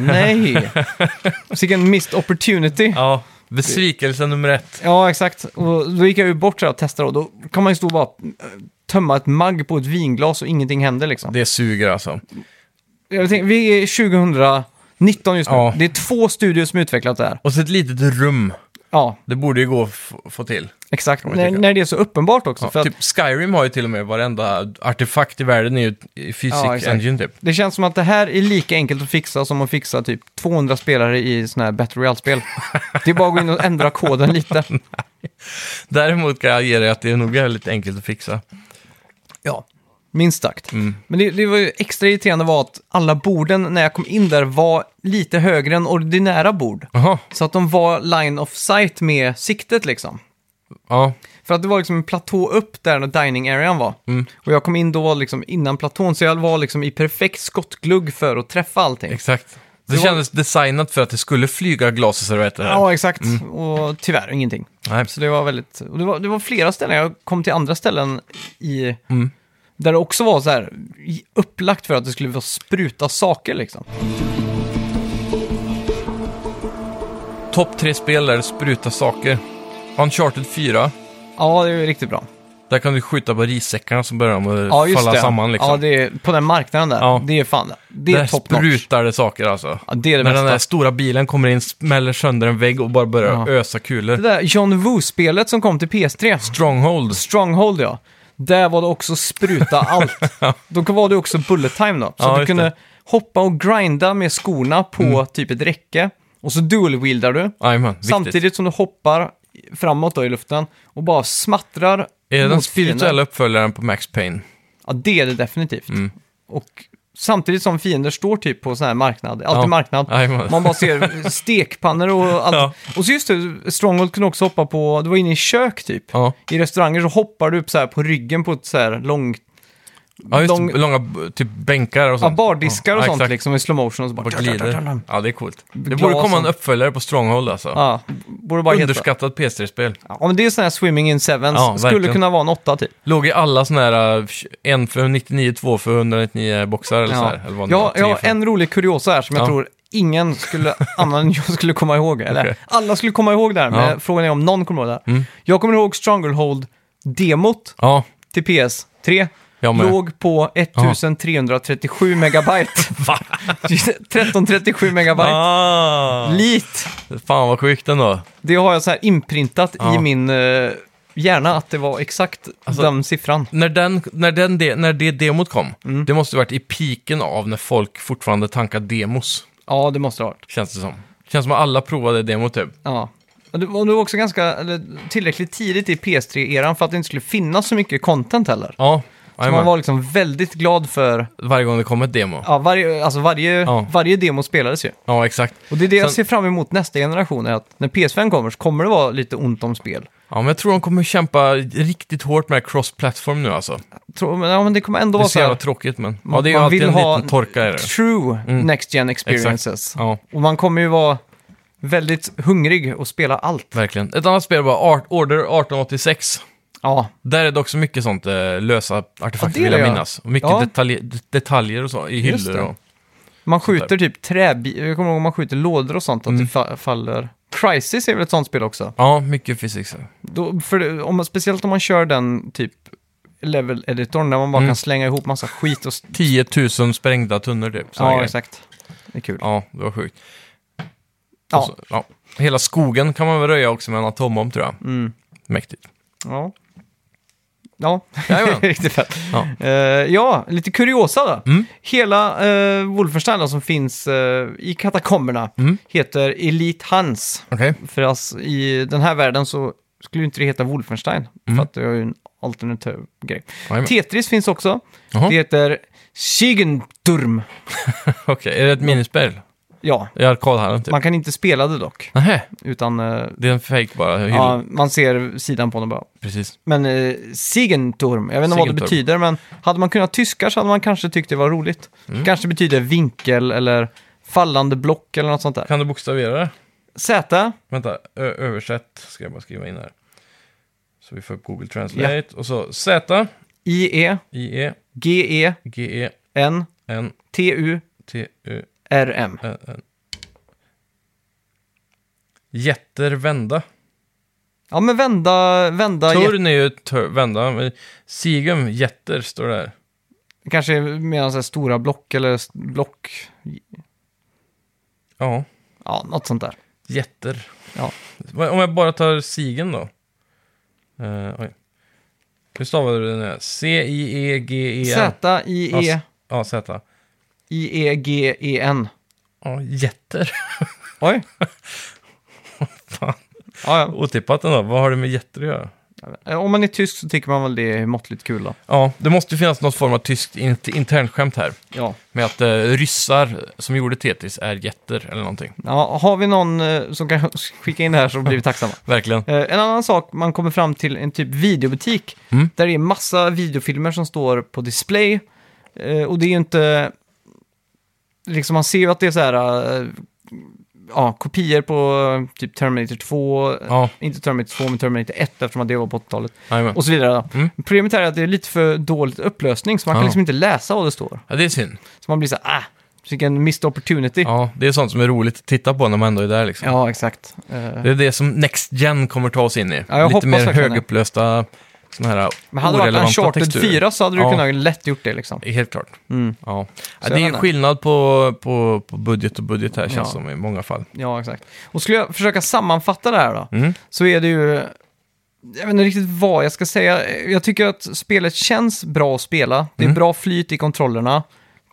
Speaker 2: [LAUGHS]
Speaker 1: nej! Vilken missed opportunity.
Speaker 2: ja. Besvikelse nummer ett.
Speaker 1: Ja, exakt. Och då gick jag ju bort så här och testade och då kan man ju stå och bara eh, tömma ett magg på ett vinglas och ingenting händer liksom.
Speaker 2: Det suger alltså.
Speaker 1: Jag tänkte, vi är 2019 just nu.
Speaker 2: Ja.
Speaker 1: Det är två studier som utvecklat det här.
Speaker 2: Och så ett litet rum.
Speaker 1: Ja,
Speaker 2: Det borde ju gå att f- få till.
Speaker 1: exakt.
Speaker 2: man tycka.
Speaker 1: När, när det är så uppenbart också.
Speaker 2: Ja,
Speaker 1: för att
Speaker 2: typ Skyrim har ju till och med varenda artefakt i världen är ju i Physics
Speaker 1: Ja, exakt.
Speaker 2: Engine typ.
Speaker 1: Det känns som att det här är lika enkelt att fixa som att fixa typ 200 spelare i sådana här
Speaker 2: [LAUGHS]
Speaker 1: Battle Royale-spel. det är bara att gå in och ändra koden lite.
Speaker 2: Däremot kan jag ge dig att det är nog väldigt enkelt att fixa.
Speaker 1: Ja, minst sagt.
Speaker 2: Mm.
Speaker 1: Men det, det var ju extra irriterande var att alla borden när jag kom in där var lite högre än ordinära bord.
Speaker 2: Jaha,
Speaker 1: Så att de var line of sight med siktet liksom.
Speaker 2: ja.
Speaker 1: För att det var liksom en platå upp där när dining arean var.
Speaker 2: Mm.
Speaker 1: Och jag kom in då liksom innan platån, så jag var liksom i perfekt skottglugg för att träffa allting.
Speaker 2: Exakt. Det,
Speaker 1: Det var-
Speaker 2: kändes designat för att det skulle flyga glas och servetter här.
Speaker 1: Ja, exakt.
Speaker 2: Mm.
Speaker 1: Och tyvärr ingenting.
Speaker 2: Nej.
Speaker 1: Så det var väldigt... Och det var, det var flera ställen, jag kom till andra ställen i...
Speaker 2: Mm.
Speaker 1: Där det också var så här i- upplagt för att det skulle vara spruta saker liksom.
Speaker 2: Topp tre spel där det sprutar saker. Uncharted 4.
Speaker 1: Ja, det är ju riktigt bra.
Speaker 2: Där kan du skjuta på rissäckarna som börjar med att
Speaker 1: Ja, just
Speaker 2: falla
Speaker 1: det.
Speaker 2: samman liksom.
Speaker 1: Ja, det är, på den marknaden där.
Speaker 2: Ja.
Speaker 1: Det är fan... Det är
Speaker 2: där
Speaker 1: top notch.
Speaker 2: sprutar det saker alltså.
Speaker 1: Ja, det är det
Speaker 2: När den
Speaker 1: bästa.
Speaker 2: där stora bilen kommer in, smäller sönder en vägg och bara börjar
Speaker 1: Ja.
Speaker 2: ösa kulor.
Speaker 1: Det där John Woo-spelet som kom till PS3.
Speaker 2: Stronghold.
Speaker 1: Stronghold ja. Där var det
Speaker 2: [LAUGHS]
Speaker 1: också spruta allt. Då var det också bullet time då. Så
Speaker 2: Ja,
Speaker 1: du
Speaker 2: just
Speaker 1: kunde
Speaker 2: det.
Speaker 1: hoppa och grinda med skorna på typ ett räcke. Och så dual-wieldar du.
Speaker 2: Jajamän, viktigt.
Speaker 1: Samtidigt som du hoppar framåt då i luften och bara smattrar
Speaker 2: Är det den
Speaker 1: mot fienden.
Speaker 2: spirituella Mm. uppföljaren på Max Payne?
Speaker 1: Ja, det är det definitivt. Och samtidigt som fiender står typ på sån här marknad, alltid
Speaker 2: Ja.
Speaker 1: marknad.
Speaker 2: Jajamän.
Speaker 1: Man
Speaker 2: [LAUGHS]
Speaker 1: bara ser stekpannor och allt.
Speaker 2: Ja.
Speaker 1: Och så just det, Stronghold kunde också hoppa på, du var inne i kök typ.
Speaker 2: Ja,
Speaker 1: I restauranger så hoppar du upp så här på ryggen på ett så här långt...
Speaker 2: ja just
Speaker 1: Lång-
Speaker 2: det, långa b- typ bänkar och
Speaker 1: Ja,
Speaker 2: sånt.
Speaker 1: bardiskar och
Speaker 2: Ja,
Speaker 1: sånt
Speaker 2: exakt.
Speaker 1: liksom i slow motion och så bara...
Speaker 2: Bara glider. Ja, det är coolt. Det
Speaker 1: Glas
Speaker 2: borde komma en
Speaker 1: och-
Speaker 2: uppföljare på Stronghold alltså.
Speaker 1: Ja, borde bara heta...
Speaker 2: Underskattat PS3-spel.
Speaker 1: Ja, men det är sån här Swimming in Sevens.
Speaker 2: Ja,
Speaker 1: Skulle
Speaker 2: verkligen.
Speaker 1: kunna vara en åtta typ.
Speaker 2: Låg i alla såna här, eh, en för 99, två för 199 boxar eller så
Speaker 1: Ja.
Speaker 2: här. Eller vad det
Speaker 1: Ja,
Speaker 2: var, tre
Speaker 1: jag har
Speaker 2: för-
Speaker 1: en rolig kuriosa här som jag
Speaker 2: Ja.
Speaker 1: tror
Speaker 2: [LAUGHS]
Speaker 1: ingen skulle, annan än jag skulle komma ihåg. Eller
Speaker 2: Okej.
Speaker 1: alla skulle komma ihåg det här, men
Speaker 2: Ja. Mm.
Speaker 1: frågan är om någon kommer ihåg det här. Jag kommer ihåg Stronghold-demot
Speaker 2: Ja,
Speaker 1: till PS3.
Speaker 2: jag med.
Speaker 1: Låg på 1337 megabyte.
Speaker 2: [LAUGHS]
Speaker 1: [LAUGHS]
Speaker 2: Va?
Speaker 1: 1337 megabyte.
Speaker 2: Ah,
Speaker 1: Lit.
Speaker 2: fan vad sjukt ändå.
Speaker 1: Det har jag så här inprintat i
Speaker 2: Ja.
Speaker 1: min eh, hjärna att det var exakt
Speaker 2: Alltså-
Speaker 1: den siffran.
Speaker 2: När, den, när, den de, när det demot kom,
Speaker 1: Mm.
Speaker 2: det måste ha varit i piken av när folk fortfarande tankar demos,
Speaker 1: Ja, det måste det ha varit.
Speaker 2: känns det som. Känns som att alla provade demot typ.
Speaker 1: Ja. Och det var nog också ganska, eller, tillräckligt tidigt i PS3-eran för att det inte skulle finnas så mycket content heller.
Speaker 2: Ja,
Speaker 1: Så man
Speaker 2: jajamän.
Speaker 1: var liksom väldigt glad för,
Speaker 2: varje gång det kom ett demo.
Speaker 1: ja, varje, alltså varje,
Speaker 2: Ja.
Speaker 1: varje demo spelades ju.
Speaker 2: Ja, exakt.
Speaker 1: Och det är det jag
Speaker 2: Sen-
Speaker 1: ser fram emot nästa generation, är att när PS5 kommer så kommer det vara lite ont om spel.
Speaker 2: Ja, men jag tror de kommer kämpa riktigt hårt med cross-platform nu alltså.
Speaker 1: Tror, men, ja, men det kommer ändå
Speaker 2: Det är
Speaker 1: vara
Speaker 2: så
Speaker 1: så
Speaker 2: jävla
Speaker 1: här,
Speaker 2: tråkigt, men...
Speaker 1: man-
Speaker 2: Ja, det är ju
Speaker 1: man
Speaker 2: alltid
Speaker 1: vill
Speaker 2: en
Speaker 1: ha-
Speaker 2: liten torka i det.
Speaker 1: true next gen experiences.
Speaker 2: Ja,
Speaker 1: Och man kommer ju vara väldigt hungrig och spela allt.
Speaker 2: verkligen. Ett annat spel var Art Order 1886.
Speaker 1: Ja,
Speaker 2: Där är det också mycket sånt eh, lösa
Speaker 1: Ja, det
Speaker 2: artefakter
Speaker 1: är
Speaker 2: vill jag
Speaker 1: det, ja.
Speaker 2: minnas. Och mycket
Speaker 1: Ja.
Speaker 2: detalj, detaljer och så i
Speaker 1: Just
Speaker 2: hyllor
Speaker 1: det.
Speaker 2: och...
Speaker 1: Man skjuter typ träbilar, jag kommer ihåg om man skjuter lådor och sånt, att
Speaker 2: Mm.
Speaker 1: det fa- faller. Crisis är väl ett sånt spel också?
Speaker 2: Ja, mycket fysik.
Speaker 1: Då, för om man, speciellt om man kör den typ level editorn där man bara
Speaker 2: Mm.
Speaker 1: kan slänga ihop massa skit och... s-
Speaker 2: 10 000 sprängda tunnor typ. såna
Speaker 1: Ja,
Speaker 2: grejer.
Speaker 1: exakt. Det är kul.
Speaker 2: ja, alltså. det var sjukt.
Speaker 1: Ja.
Speaker 2: Och Så, ja. Hela skogen kan man väl röja också med en atombomb tror jag.
Speaker 1: Mm.
Speaker 2: Mäktigt.
Speaker 1: Ja. Ja,
Speaker 2: Jajamän.
Speaker 1: [LAUGHS] riktigt fett.
Speaker 2: Ja.
Speaker 1: Eh, ja, lite kuriosa då.
Speaker 2: Mm.
Speaker 1: Hela uh, Wolfenstein då, som finns eh, i katakomberna
Speaker 2: Mm.
Speaker 1: heter Elite Hans.
Speaker 2: [LAUGHS] Okej.
Speaker 1: För alltså, i den här världen så skulle ju inte det heta Wolfenstein.
Speaker 2: Mm.
Speaker 1: För att det är ju en alternativ grej.
Speaker 2: Jajamän.
Speaker 1: Tetris finns också.
Speaker 2: Jaha.
Speaker 1: Det heter Sigenturm.
Speaker 2: Okej, är det ett minispel?
Speaker 1: Ja,
Speaker 2: I arkadhallen typ?
Speaker 1: man kan inte spela det dock.
Speaker 2: Nähä,
Speaker 1: Utan eh,
Speaker 2: det är en fake bara. Hyll.
Speaker 1: ja, man ser sidan på den bara.
Speaker 2: Precis.
Speaker 1: Men eh, Sigenturm, jag vet inte vad det
Speaker 2: Sigenturm.
Speaker 1: betyder, men hade man kunnat tyska så hade man kanske tyckt det var roligt.
Speaker 2: Mm.
Speaker 1: Kanske betyder vinkel eller fallande block eller något sånt där.
Speaker 2: Kan du bokstavera det?
Speaker 1: Z,
Speaker 2: Vänta, ö- översätt ska jag bara skriva in här. Så vi får upp Google Translate. Och så Z,
Speaker 1: I, E,
Speaker 2: I, E,
Speaker 1: G, E,
Speaker 2: G, E,
Speaker 1: N,
Speaker 2: N,
Speaker 1: T, U,
Speaker 2: T, U,
Speaker 1: R, M.
Speaker 2: Ä, N. Jätter vända.
Speaker 1: Ja, men vända, vända, jätte-
Speaker 2: Turn är ju tur, vända. men Sigum, jätter, står det här.
Speaker 1: kanske menar så här stora block eller s- block,
Speaker 2: Ja,
Speaker 1: ja, något sånt där.
Speaker 2: jätter.
Speaker 1: Ja.
Speaker 2: Vad- Om jag bara tar Sigen då. Eh, oj. Hur stavar du den här? E C-I-E-G-E-N.
Speaker 1: Z, I, E,
Speaker 2: Ja, Z.
Speaker 1: I, E, G, E, N.
Speaker 2: Ja, jätter. [LAUGHS]
Speaker 1: Oj.
Speaker 2: Fan.
Speaker 1: Ja,
Speaker 2: Otippat ändå. Vad har det med jätter att göra?
Speaker 1: ja. Om man är tysk så tycker man väl det är måttligt kul då.
Speaker 2: Ja, det måste ju finnas något form av tyskt in- internskämt här.
Speaker 1: Ja.
Speaker 2: Med att eh, ryssar som gjorde Tetris är jätter eller någonting.
Speaker 1: Ja, har vi någon eh, som kan [LAUGHS] skicka in det här så blir vi tacksamma.
Speaker 2: Verkligen.
Speaker 1: Eh, En annan sak, man kommer fram till en typ videobutik
Speaker 2: Mm.
Speaker 1: där det är massa videofilmer som står på display. Eh, Och det är ju inte... Liksom man ser ju att det är så här... eh, Ja, kopior på eh, typ Terminator 2.
Speaker 2: Ja,
Speaker 1: Inte Terminator 2, men Terminator 1 eftersom att det var på 80-talet.
Speaker 2: jajamän.
Speaker 1: Och så vidare.
Speaker 2: Mm.
Speaker 1: Problemet här är att det är lite för dåligt upplösning, så man
Speaker 2: Ja.
Speaker 1: kan liksom inte läsa vad det står.
Speaker 2: ja, det är synd.
Speaker 1: Så man blir så här, ah, vilken missed opportunity. Ja,
Speaker 2: Ja, det är sånt som är roligt att titta på när man ändå är där liksom.
Speaker 1: exakt. Eh,
Speaker 2: Det är det som Next Gen kommer ta oss in i.
Speaker 1: Ja, jag
Speaker 2: Lite
Speaker 1: hoppas
Speaker 2: mer
Speaker 1: verkligen det.
Speaker 2: högupplösta, sådana här
Speaker 1: Men hade det varit
Speaker 2: orelevanta
Speaker 1: Uncharted
Speaker 2: texturer.
Speaker 1: 4 så hade du
Speaker 2: Ja.
Speaker 1: kunnat lätt gjort det liksom.
Speaker 2: Helt klart.
Speaker 1: Mm.
Speaker 2: Ja. Ja,
Speaker 1: Så
Speaker 2: det
Speaker 1: jag
Speaker 2: är
Speaker 1: menar.
Speaker 2: skillnad på, på, på budget och budget här känns
Speaker 1: Ja.
Speaker 2: som i många fall.
Speaker 1: Ja, exakt. Och skulle jag försöka sammanfatta det här då,
Speaker 2: Mm.
Speaker 1: så är det ju... Jag vet inte riktigt vad jag ska säga. Jag tycker att spelet känns bra att spela. Det är
Speaker 2: Mm.
Speaker 1: bra flyt i kontrollerna.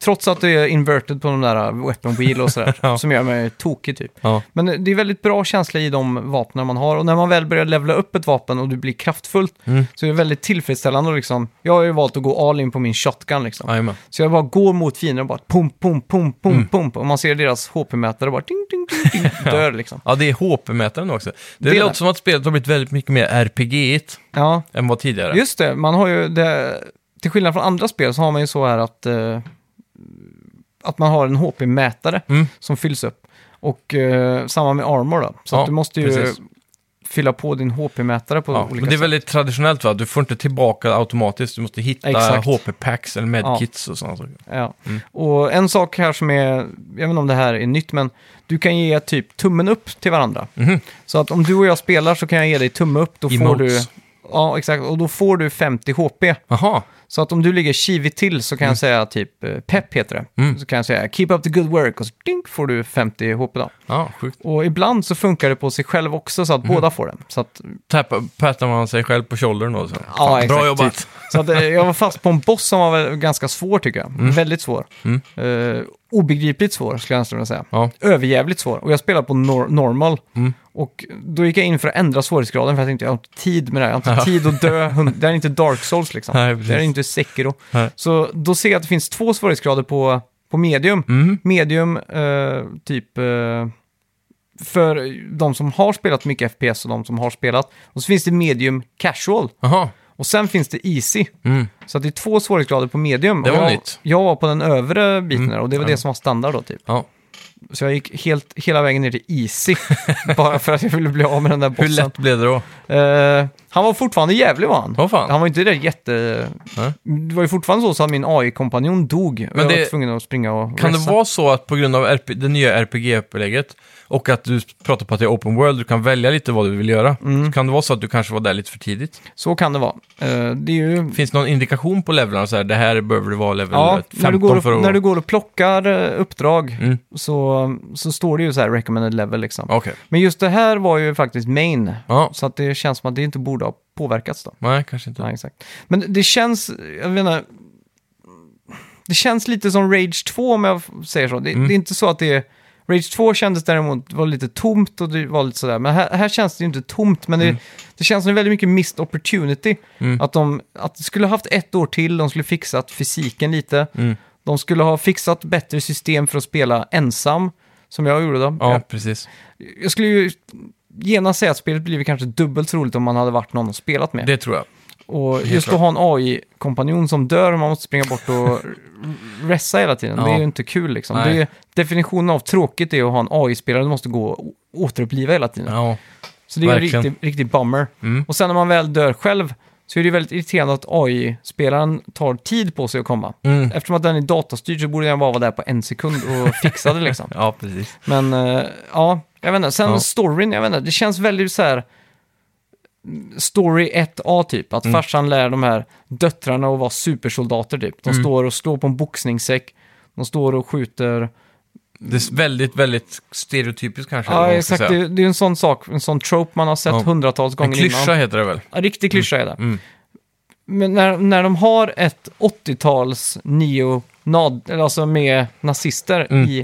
Speaker 1: Trots att det är inverted på de där weapon wheel och sådär,
Speaker 2: [LAUGHS] Ja.
Speaker 1: som gör mig tokig typ.
Speaker 2: Ja.
Speaker 1: Men det är väldigt bra känsla i de vapnen man har. Och när man väl börjar levla upp ett vapen och det blir kraftfullt,
Speaker 2: Mm.
Speaker 1: så är det väldigt tillfredsställande. och Liksom. Jag har ju valt att gå all in på min shotgun liksom.
Speaker 2: Jajamän.
Speaker 1: Så jag bara går mot fienden och bara pum, pum, pum, pum, pum. Och man ser deras HP-mätare och bara ding, ding, ding, ding, dör liksom.
Speaker 2: Mm. [LAUGHS] Ja, det är HP-mätaren också. Det,
Speaker 1: Det är
Speaker 2: låter
Speaker 1: det.
Speaker 2: som att spelet har blivit väldigt mycket mer RPG-igt
Speaker 1: Ja,
Speaker 2: än vad tidigare.
Speaker 1: just det. Man har ju det, till skillnad från andra spel så har man ju så här att, eh, att man har en HP-mätare
Speaker 2: Mm.
Speaker 1: som fylls upp. Och eh, samma med armor då. Så
Speaker 2: Ja,
Speaker 1: att du måste ju
Speaker 2: precis.
Speaker 1: fylla på din HP-mätare på
Speaker 2: Ja, men
Speaker 1: olika
Speaker 2: det är
Speaker 1: sätt.
Speaker 2: väldigt traditionellt va? Du får inte tillbaka automatiskt, du måste hitta
Speaker 1: Exakt.
Speaker 2: HP-packs eller medkits och sådana saker.
Speaker 1: Ja. Och en sak här som är, jag vet inte om det här är nytt, men du kan ge typ tummen upp till varandra.
Speaker 2: Mhm.
Speaker 1: Så att om du och jag spelar så kan jag ge dig tumme upp, då får du...
Speaker 2: Emotes.
Speaker 1: Ja, exakt. Och då får du 50 HP.
Speaker 2: Jaha,
Speaker 1: Så att om du ligger kivigt till så kan jag säga typ eh, pepp heter det.
Speaker 2: Mm.
Speaker 1: Så kan jag säga keep up the good work och så dink får du 50 HP då.
Speaker 2: ja, sjukt.
Speaker 1: Och ibland så funkar det på sig själv också så att
Speaker 2: Mm.
Speaker 1: båda får den. Så att
Speaker 2: Tappa, pattar man sig själv på shouldern då? Så.
Speaker 1: Ja,
Speaker 2: Fan,
Speaker 1: exakt,
Speaker 2: Bra jobbat.
Speaker 1: typ. Så att, eh, jag var fast på en boss som var väl ganska svår tycker jag. Väldigt svår.
Speaker 2: Mm.
Speaker 1: Eh, obegripligt svår skulle jag nästan vilja säga.
Speaker 2: Ja.
Speaker 1: Överjävligt svår. Och jag spelade på nor- normal.
Speaker 2: Mm.
Speaker 1: Och då gick jag in för att ändra svårighetsgraden för jag tänkte jag har inte tid med det här. Jag har inte tid att
Speaker 2: [LAUGHS]
Speaker 1: dö. hund- Det här är inte Dark Souls liksom.
Speaker 2: Nej,
Speaker 1: det här är
Speaker 2: precis.
Speaker 1: inte Sekiro.
Speaker 2: Nej.
Speaker 1: Så då ser jag att det finns två svårighetsgrader på, på medium.
Speaker 2: Mm.
Speaker 1: Medium, eh, typ... Eh, för de som har spelat mycket FPS och de som har spelat. Och så finns det medium casual.
Speaker 2: Jaha,
Speaker 1: Och sen finns det easy.
Speaker 2: mm.
Speaker 1: Så att det är två svårighetsgrader på medium.
Speaker 2: Det
Speaker 1: Och
Speaker 2: var
Speaker 1: jag,
Speaker 2: nytt.
Speaker 1: jag var på den övre biten där och det var
Speaker 2: Mm.
Speaker 1: det som var standard då typ.
Speaker 2: ja.
Speaker 1: Så jag gick helt, hela vägen ner till Easy, [LAUGHS] bara för att jag ville bli av med den där
Speaker 2: Hur
Speaker 1: bossen.
Speaker 2: lätt blev det då?
Speaker 1: Eh, han var fortfarande jävlig var han.
Speaker 2: Åh fan.
Speaker 1: Han var inte det där jätte...
Speaker 2: Nej.
Speaker 1: Det var ju fortfarande så, så att min AI-kompanjon dog. Men jag
Speaker 2: det-
Speaker 1: var tvungen att springa och
Speaker 2: Kan det
Speaker 1: resa.
Speaker 2: vara så att på grund av RP, det nya RPG-upplägget och att du pratar på att det är open world, du kan välja lite vad du vill göra.
Speaker 1: Mm.
Speaker 2: Så kan det vara så att du kanske var där lite för tidigt?
Speaker 1: Så kan det vara. Eh, det är ju...
Speaker 2: Finns det någon indikation på levlarna så här, det här behöver du vara level
Speaker 1: Ja, när du,
Speaker 2: 15
Speaker 1: går och,
Speaker 2: för att...
Speaker 1: när du går och plockar eh, uppdrag
Speaker 2: Mm.
Speaker 1: så, så står det ju så här recommended level liksom.
Speaker 2: Okej.
Speaker 1: Men just det här var ju faktiskt main,
Speaker 2: Ja,
Speaker 1: så att det känns som att det inte borde ha påverkats då.
Speaker 2: nej kanske inte.
Speaker 1: Nej, exakt. Men det känns, jag menar, det känns lite som Rage 2 om jag f- säger så.
Speaker 2: Mm.
Speaker 1: Det, det är inte så att det är, Rage 2 kändes däremot, var lite tomt och det var lite sådär, men här, här känns det ju inte tomt, men det,
Speaker 2: Mm.
Speaker 1: det känns som väldigt mycket missed opportunity. Att de att de skulle ha haft ett år till, de skulle fixat fysiken lite,
Speaker 2: Mm.
Speaker 1: de skulle ha fixat bättre system för att spela ensam, som jag gjorde då.
Speaker 2: Ja,
Speaker 1: Jag,
Speaker 2: precis.
Speaker 1: jag skulle ju genast säga att spelet blivit kanske dubbelt så roligt om man hade varit någon och spelat med.
Speaker 2: Det tror jag.
Speaker 1: Och just att ha en AI-kompanjon som dör och man måste springa bort och ressa hela tiden,
Speaker 2: Ja.
Speaker 1: det är ju inte kul liksom.
Speaker 2: Nej.
Speaker 1: Det är, definitionen av tråkigt är att ha en AI-spelare du måste gå och å- återuppliva hela tiden.
Speaker 2: Ja,
Speaker 1: så det är ju en
Speaker 2: verkligen.
Speaker 1: riktig, riktig bummer.
Speaker 2: Mm.
Speaker 1: Och sen när man väl dör själv så är det ju väldigt irriterande att AI-spelaren tar tid på sig att komma.
Speaker 2: mm.
Speaker 1: Eftersom att den är datastyrd så borde den bara vara där på en sekund och fixa det liksom.
Speaker 2: ja precis.
Speaker 1: Men eh, ja, jag vet inte. Sen
Speaker 2: Ja.
Speaker 1: storyn, jag vet inte. Det känns väldigt så här... Story 1A typ,
Speaker 2: Mm.
Speaker 1: att farsan lär de här döttrarna att vara supersoldater typ. De
Speaker 2: Mm.
Speaker 1: står och slår på en boxningssäck, de står och skjuter.
Speaker 2: Det är väldigt, väldigt stereotypiskt kanske. eller
Speaker 1: Ja,
Speaker 2: vad man ska
Speaker 1: exakt.
Speaker 2: säga.
Speaker 1: Det, det är en sån sak, en sån trope man har sett
Speaker 2: Ja.
Speaker 1: hundratals
Speaker 2: En
Speaker 1: gånger
Speaker 2: klyscha
Speaker 1: innan.
Speaker 2: heter det väl?
Speaker 1: Ja, riktig klyscha är det.
Speaker 2: Mm.
Speaker 1: Men när, när de har ett 80-tals neo eller alltså med nazister
Speaker 2: Mm.
Speaker 1: i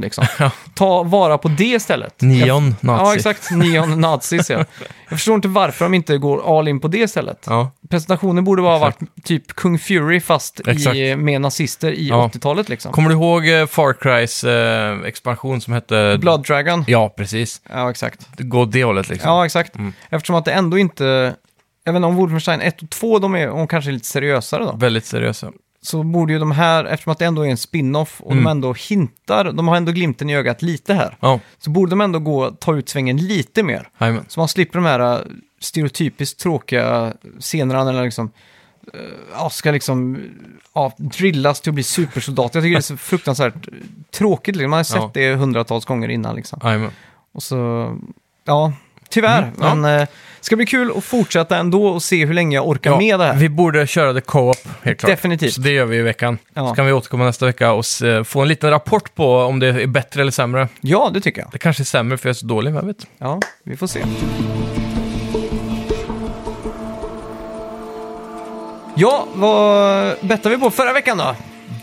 Speaker 2: [LAUGHS]
Speaker 1: liksom. Ta vara på det istället.
Speaker 2: Neon nazi.
Speaker 1: Ja, exakt. Neon nazis, ja. Jag förstår inte varför de inte går all in på det istället.
Speaker 2: Ja,
Speaker 1: Presentationen borde bara ha varit typ Kung Fury fast i, eh,
Speaker 2: Exakt.
Speaker 1: med nazister i
Speaker 2: Ja.
Speaker 1: 80-talet liksom.
Speaker 2: Kommer du ihåg eh, Far Crys eh, expansion som hette...
Speaker 1: Blood Dragon.
Speaker 2: Ja, precis.
Speaker 1: Ja, exakt.
Speaker 2: Gå åt det hållet liksom.
Speaker 1: Ja, exakt. Eftersom att det ändå inte... Jag vet inte, om Wolfenstein 1 och 2, de är och kanske är lite seriösare då.
Speaker 2: Väldigt seriösa.
Speaker 1: Så borde ju de här, eftersom att det ändå är en spin-off och
Speaker 2: Mm.
Speaker 1: de ändå hintar, de har ändå glimten i ögat lite här.
Speaker 2: Ja,
Speaker 1: Så borde de ändå gå, ta ut svängen lite mer.
Speaker 2: jajamän.
Speaker 1: Så man slipper de här äh, stereotypiskt tråkiga scenerna när liksom, äh, ja, ska liksom ja, drillas till att bli supersoldat. Jag
Speaker 2: [LAUGHS]
Speaker 1: tycker det är så fruktansvärt tråkigt. Liksom. Man har sett
Speaker 2: Ja.
Speaker 1: det hundratals gånger innan. Liksom.
Speaker 2: jajamän.
Speaker 1: Och så, ja, tyvärr.
Speaker 2: Mm, ja.
Speaker 1: Men äh, det ska bli kul att fortsätta ändå och se hur länge jag orkar
Speaker 2: Ja,
Speaker 1: med det här.
Speaker 2: Vi borde köra det co-op, helt klart.
Speaker 1: Definitivt.
Speaker 2: Så det gör vi i veckan.
Speaker 1: Ja.
Speaker 2: Så kan vi återkomma nästa vecka och se, få en liten rapport på om det är bättre eller sämre.
Speaker 1: Ja, det tycker jag.
Speaker 2: Det kanske är sämre för jag är så dålig, vem vet?
Speaker 1: Ja, vi får se. Ja, vad bettade vi på förra veckan då?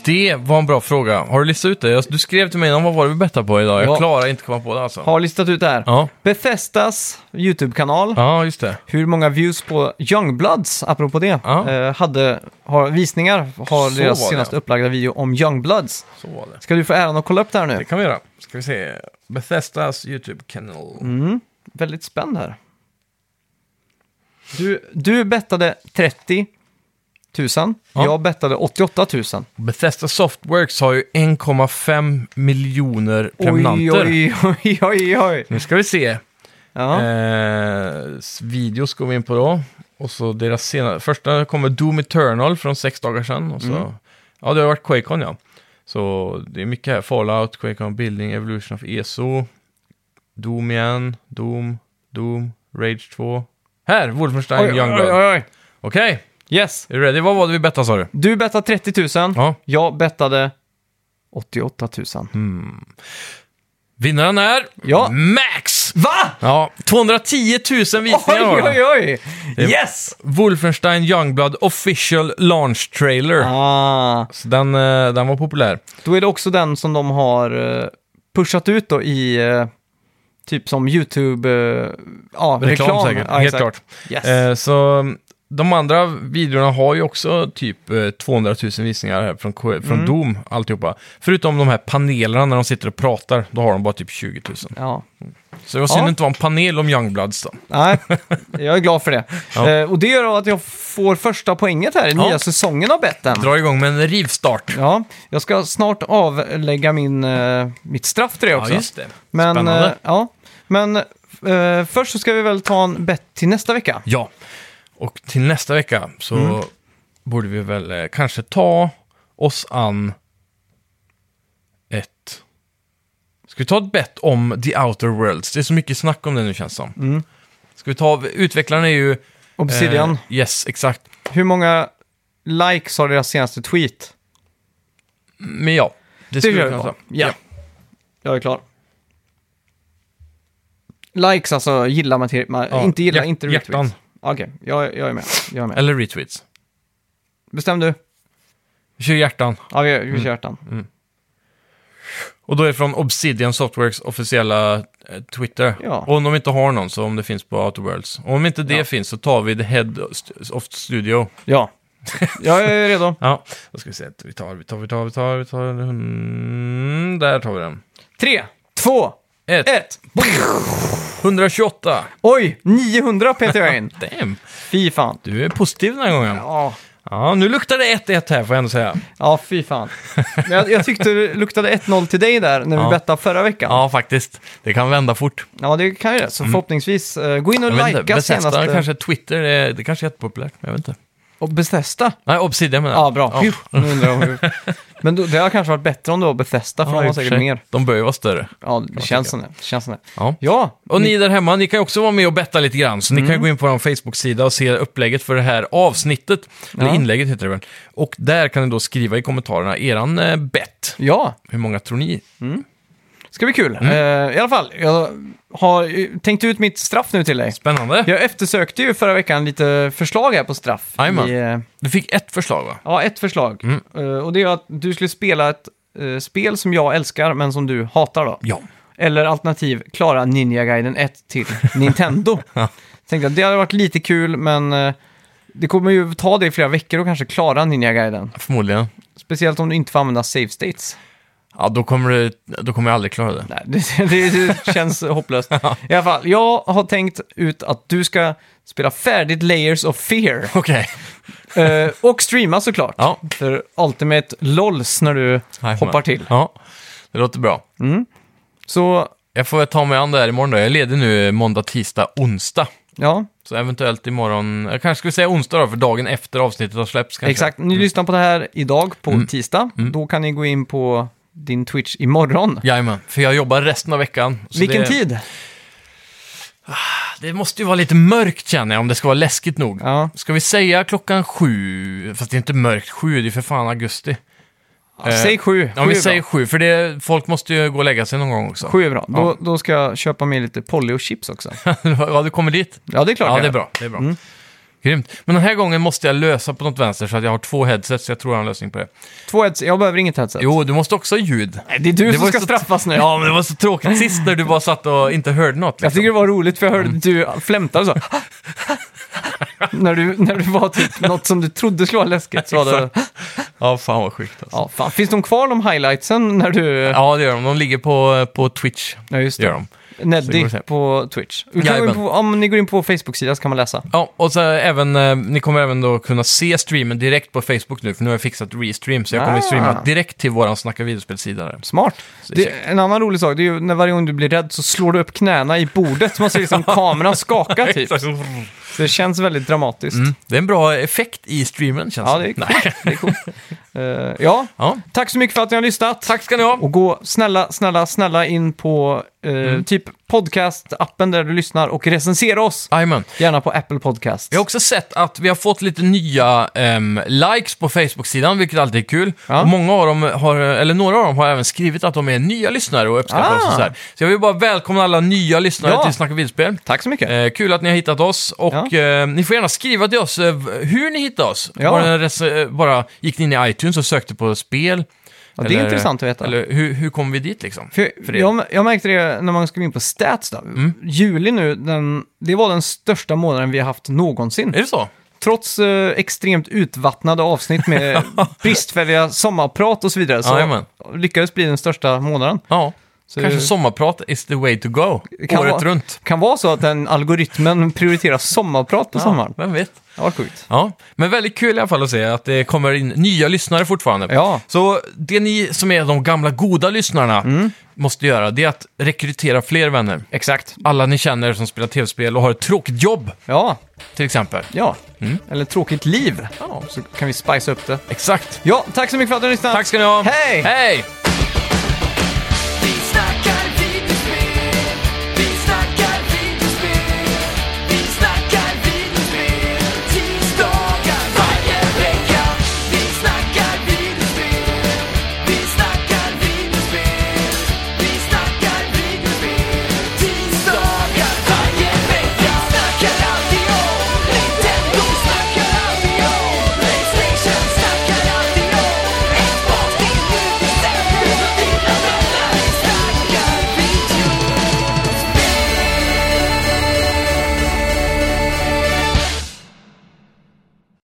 Speaker 2: Det var en bra fråga. Har du listat ut det? Jag- Du skrev till mig innan, vad var det vi bettade på idag? Jag
Speaker 1: Ja.
Speaker 2: klarar inte komma på det alltså.
Speaker 1: Har listat ut det här.
Speaker 2: Ja,
Speaker 1: Bethesdas YouTube-kanal,
Speaker 2: ja just det.
Speaker 1: hur många views på Youngbloods, apropå det,
Speaker 2: Ja.
Speaker 1: eh, hade, har, visningar har
Speaker 2: Så var
Speaker 1: deras
Speaker 2: det.
Speaker 1: senaste upplagda video om Youngbloods.
Speaker 2: Så var det.
Speaker 1: Ska du få äran att kolla upp det här nu?
Speaker 2: Det kan vi göra. Ska vi se. Bethesdas YouTube-kanal.
Speaker 1: Väldigt spänd här. Du, du bettade 30 000,
Speaker 2: Ja.
Speaker 1: jag bettade 88 000.
Speaker 2: Bethesda Softworks har ju 1,5 miljoner
Speaker 1: Oj,
Speaker 2: prenumeranter.
Speaker 1: oj, oj, oj, oj.
Speaker 2: Nu ska vi se.
Speaker 1: Ja.
Speaker 2: Eh, videos går vi in på då. Och så deras senare, första kommer Doom Eternal från sex dagar sedan. Och så,
Speaker 1: Mm.
Speaker 2: Ja, det har varit Quakecon ja. Så det är mycket här. Fallout, Quakecon Building, Evolution of ESO. Doom igen, Doom, Doom, Rage 2. Här, Wolfenstein, Youngblood.
Speaker 1: oj, oj.
Speaker 2: Okej,
Speaker 1: Yes,
Speaker 2: är du ready? Vad var det vi bettade sa du?
Speaker 1: du bettade 30 000,
Speaker 2: Ja. Mm.
Speaker 1: jag bettade 88 000.
Speaker 2: Vinnaren är
Speaker 1: Ja.
Speaker 2: Max!
Speaker 1: Va?
Speaker 2: Ja, 210 000 visningar har
Speaker 1: Oj,
Speaker 2: den.
Speaker 1: oj, oj!
Speaker 2: är-
Speaker 1: Yes!
Speaker 2: Wolfenstein Youngblood official launch trailer.
Speaker 1: Ah,
Speaker 2: Så den, eh, den var populär.
Speaker 1: då är det också den som de har eh, pushat ut då i eh, typ som YouTube-reklam. ja,
Speaker 2: Reklam
Speaker 1: reklam
Speaker 2: säkert,
Speaker 1: Ja,
Speaker 2: helt
Speaker 1: exakt.
Speaker 2: klart.
Speaker 1: Yes.
Speaker 2: Eh, så de andra videorna har ju också typ eh, 200 000 visningar här från, Ko- från
Speaker 1: Mm.
Speaker 2: Doom, alltihopa. Förutom de här panelerna när de sitter och pratar, då har de bara typ 20 000.
Speaker 1: Ja.
Speaker 2: Så det var synd
Speaker 1: Ja.
Speaker 2: att det inte var en panel om Youngbloods då.
Speaker 1: Nej, jag är glad för det.
Speaker 2: Ja.
Speaker 1: Eh, och det gör att jag får första poänget här i
Speaker 2: Ja.
Speaker 1: nya säsongen av betten.
Speaker 2: Dra igång med en rivstart.
Speaker 1: Ja, jag ska snart avlägga min, eh, mitt straff till det också.
Speaker 2: det.
Speaker 1: Men,
Speaker 2: Spännande.
Speaker 1: eh, ja. Men eh, först så ska vi väl ta en bett till nästa vecka.
Speaker 2: Ja, och till nästa vecka så
Speaker 1: Mm.
Speaker 2: borde vi väl eh, kanske ta oss an ett... Ska vi ta ett bett om The Outer Worlds? Det är så mycket snack om det nu känns som. Mm. Ska vi ta... Utvecklaren är ju... eh,
Speaker 1: Obsidian.
Speaker 2: yes, exakt.
Speaker 1: Hur många likes har deras senaste tweet?
Speaker 2: Men ja, det
Speaker 1: Det
Speaker 2: skulle vi
Speaker 1: gör
Speaker 2: kunna
Speaker 1: vi
Speaker 2: ta.
Speaker 1: ja. ja. Jag är klar. Likes, alltså gilla material. Man,
Speaker 2: Ja,
Speaker 1: Inte gilla,
Speaker 2: hjärt-
Speaker 1: inte retweet.
Speaker 2: hjärtan.
Speaker 1: Okej, jag, jag är med. Jag är med.
Speaker 2: Eller retweets.
Speaker 1: Bestäm du.
Speaker 2: Vi kör hjärtan.
Speaker 1: Ja, vi,
Speaker 2: Mm.
Speaker 1: vi kör hjärtan.
Speaker 2: Och då är det från Obsidian Softworks officiella eh, Twitter.
Speaker 1: Ja.
Speaker 2: Och om de inte har någon, så om det finns på Outer Worlds. Och om inte det
Speaker 1: Ja.
Speaker 2: finns så tar vi The Head of Studio. [LAUGHS]
Speaker 1: Ja. Jag är redo.
Speaker 2: Ja, då ska vi se. Vi tar, vi tar, vi tar, vi tar, vi tar. Mm, där tar vi den.
Speaker 1: Tre, två,
Speaker 2: Ett.
Speaker 1: ett.
Speaker 2: 128.
Speaker 1: Oj, 900 petar jag in.
Speaker 2: Damn.
Speaker 1: Fy fan.
Speaker 2: Du är positiv den här gången.
Speaker 1: Ja,
Speaker 2: Ja, nu luktar det 1-1 här får jag ändå säga.
Speaker 1: ja fy fan. Men jag, jag tyckte det luktade 1-0 till dig där när vi
Speaker 2: Ja.
Speaker 1: bettade förra veckan. Ja.
Speaker 2: Ja, faktiskt. Det kan vända fort.
Speaker 1: det kan ju det. Så förhoppningsvis, eh, gå in och
Speaker 2: Jag vet inte,
Speaker 1: likea
Speaker 2: Bethesda
Speaker 1: senaste...
Speaker 2: kanske Twitter, är, det kanske är jättepopulärt. men Jag vet inte.
Speaker 1: Och Bethesda.
Speaker 2: Nej, Obsidian menar jag.
Speaker 1: Ja, bra. Phew, nu undrar jag hur... [LAUGHS] Men då, det har kanske varit bättre om det var Bethesda, för
Speaker 2: Ja,
Speaker 1: de
Speaker 2: i
Speaker 1: har
Speaker 2: och för
Speaker 1: säkert
Speaker 2: sig.
Speaker 1: mer.
Speaker 2: De bör ju vara större.
Speaker 1: Ja, det känns som det. det känns som det.
Speaker 2: Ja.
Speaker 1: Ja,
Speaker 2: Och ni där hemma, ni kan ju också vara med och betta lite grann. Så
Speaker 1: Mm.
Speaker 2: ni kan gå in på vår Facebook-sida och se upplägget för det här avsnittet. Eller
Speaker 1: Ja.
Speaker 2: inlägget heter det väl. Och där kan ni då skriva i kommentarerna eran eh, bett.
Speaker 1: ja.
Speaker 2: Hur många tror ni?
Speaker 1: Ska bli kul.
Speaker 2: Mm.
Speaker 1: Eh, I alla fall, jag har eh, tänkt ut mitt straff nu till dig.
Speaker 2: Spännande.
Speaker 1: Jag eftersökte ju förra veckan lite förslag här på straff.
Speaker 2: Jajamän. Mm.
Speaker 1: I, eh,
Speaker 2: Du fick ett förslag va?
Speaker 1: ja, ett förslag. Eh, och det är att du skulle spela ett eh, spel som jag älskar, men som du hatar då.
Speaker 2: Ja.
Speaker 1: Eller alternativ, klara Ninja Gaiden
Speaker 2: [LAUGHS]
Speaker 1: 1 till Nintendo. Tänkte att det hade varit lite kul, men eh, det kommer ju ta dig flera veckor att kanske klara Ninja Gaiden.
Speaker 2: Förmodligen.
Speaker 1: Speciellt om du inte får använda save states.
Speaker 2: Ja, då kommer, det, då kommer jag aldrig klara det.
Speaker 1: Nej, det, [LAUGHS] det, det känns hopplöst. I alla fall, jag har tänkt ut att du ska spela färdigt Layers of Fear.
Speaker 2: Okej.
Speaker 1: Eh, och streama såklart.
Speaker 2: Ja.
Speaker 1: För Ultimate LOLs när du
Speaker 2: Nej,
Speaker 1: [LAUGHS] hoppar
Speaker 2: men-
Speaker 1: till.
Speaker 2: Ja, det låter bra.
Speaker 1: Så,
Speaker 2: Jag får ta mig an det här imorgon då. Jag leder nu måndag, tisdag, onsdag.
Speaker 1: ja,
Speaker 2: Så eventuellt imorgon, jag kanske skulle säga onsdag då, för dagen efter avsnittet har släppts kanske. Mm.
Speaker 1: exakt. Ni lyssnar på det här idag på tisdag. Då kan ni gå in på din Twitch imorgon.
Speaker 2: Jajamän, för jag jobbar resten av veckan. så
Speaker 1: Vilken
Speaker 2: det,
Speaker 1: tid?
Speaker 2: Det måste ju vara lite mörkt känner jag, om det ska vara läskigt nog.
Speaker 1: Ja.
Speaker 2: Ska vi säga klockan sju? Fast det är inte mörkt sju, det är för fan augusti.
Speaker 1: Eh, Ja, Säg sju.
Speaker 2: Om vi
Speaker 1: sju är
Speaker 2: säger
Speaker 1: bra.
Speaker 2: sju, för det, folk måste ju gå och lägga sig någon gång också.
Speaker 1: Sju är bra. Då, då ska jag köpa med lite Polly och chips också.
Speaker 2: [LAUGHS] ja, du kommer dit.
Speaker 1: Ja, det är klart.
Speaker 2: Ja,
Speaker 1: jag
Speaker 2: det är
Speaker 1: gör. Mm.
Speaker 2: bra. Det är bra. Grymt. Men den här gången måste jag lösa på något vänster så att jag har två headsets, så jag tror jag har en lösning på det.
Speaker 1: Två heads, jag behöver inget headset.
Speaker 2: Jo, du måste också ha ljud.
Speaker 1: Nej, det är du
Speaker 2: Det
Speaker 1: som
Speaker 2: var
Speaker 1: ska
Speaker 2: så-
Speaker 1: straffas nu.
Speaker 2: Ja, men det var så tråkigt sist när du bara satt och inte hörde något.
Speaker 1: Jag
Speaker 2: Liksom.
Speaker 1: tycker det var roligt för jag hörde att du flämtade så.
Speaker 2: [LAUGHS]
Speaker 1: när, du, när du var typ något som du trodde skulle vara läskigt så var det...
Speaker 2: liksom. Ja, fan vad sjukt alltså.
Speaker 1: Ja, fan. Finns de kvar de highlightsen när du... Ja,
Speaker 2: Ja, det gör de. De ligger på, på Twitch.
Speaker 1: just
Speaker 2: Det gör
Speaker 1: det.
Speaker 2: de. Så går det
Speaker 1: Neddy
Speaker 2: sen.
Speaker 1: på Twitch. Du kan gå in
Speaker 2: Jajamän.
Speaker 1: på, om ni går in på vår Facebook-sida så kan man läsa.
Speaker 2: Ja, och så även, eh, ni kommer även då kunna se streamen direkt på Facebook nu, för nu har jag fixat restream, så jag kommer
Speaker 1: Ah.
Speaker 2: streama direkt till våran Snacka videospelsida där.
Speaker 1: Smart.
Speaker 2: det är
Speaker 1: Det, en annan rolig sak, det är ju när varje gång du blir rädd så slår du upp knäna i bordet. Man
Speaker 2: [LAUGHS]
Speaker 1: ser liksom kameran skaka typ.
Speaker 2: Exakt.
Speaker 1: Så det känns väldigt dramatiskt.
Speaker 2: Mm, det är en bra effekt i streamen, känns
Speaker 1: Ja, det är
Speaker 2: som.
Speaker 1: coolt. Det är coolt. Eh, ja,
Speaker 2: Ja.
Speaker 1: tack så mycket för att ni har lyssnat.
Speaker 2: Tack ska ni ha!
Speaker 1: Och gå snälla, snälla, snälla in på eh,
Speaker 2: Mm.
Speaker 1: typ podcast-appen där du lyssnar och recensera oss.
Speaker 2: Jajamän.
Speaker 1: Gärna på Apple Podcast.
Speaker 2: Jag har också sett att vi har fått lite nya ehm, likes på Facebook-sidan, vilket alltid är kul.
Speaker 1: Ja.
Speaker 2: Och många av dem har, eller några av dem har även skrivit att de är nya lyssnare och uppskattar
Speaker 1: Ah.
Speaker 2: oss och så här. Så jag vill bara välkomna alla nya lyssnare
Speaker 1: Ja.
Speaker 2: till Snacka videospel.
Speaker 1: Tack så mycket.
Speaker 2: Eh, kul att ni har hittat oss och eh, ni får gärna skriva till oss eh, v- hur ni hittade oss.
Speaker 1: Ja.
Speaker 2: Var det en rec- eh, bara gick ni in i iTunes och sökte på spel?
Speaker 1: Ja, det är intressant att veta.
Speaker 2: Eller hur, hur kom vi dit liksom?
Speaker 1: För
Speaker 2: för Mm. er.
Speaker 1: jag, jag märkte det när man skulle in på Stats. Då. Juli nu, den, det var den största månaden vi har haft någonsin.
Speaker 2: Är det så?
Speaker 1: trots eh, extremt utvattnade
Speaker 2: [LAUGHS]
Speaker 1: avsnitt med bristfälliga sommarprat och så vidare, så
Speaker 2: Jajamän.
Speaker 1: lyckades bli den största månaden.
Speaker 2: Ja,
Speaker 1: Så
Speaker 2: kanske
Speaker 1: det-
Speaker 2: sommarprat is the way to go.
Speaker 1: Det kan
Speaker 2: Året
Speaker 1: vara-
Speaker 2: runt.
Speaker 1: kan vara så att den algoritmen prioriterar sommarprat på sommaren.
Speaker 2: Ja, vem vet?
Speaker 1: Det var sjukt.
Speaker 2: Ja, men väldigt kul i alla fall att se att det kommer in nya lyssnare fortfarande.
Speaker 1: Ja.
Speaker 2: Så det ni som är de gamla goda lyssnarna
Speaker 1: Mm.
Speaker 2: måste göra, det är att rekrytera fler vänner.
Speaker 1: Exakt.
Speaker 2: Alla ni känner som spelar tv-spel och har ett tråkigt jobb,
Speaker 1: Ja,
Speaker 2: till exempel.
Speaker 1: ja. Eller tråkigt liv.
Speaker 2: Mm. Ja,
Speaker 1: Så kan vi spicea upp det.
Speaker 2: exakt.
Speaker 1: Ja, tack så mycket för att du har lyssnat.
Speaker 2: Tack ska ni ha.
Speaker 1: Hej!
Speaker 2: Hej!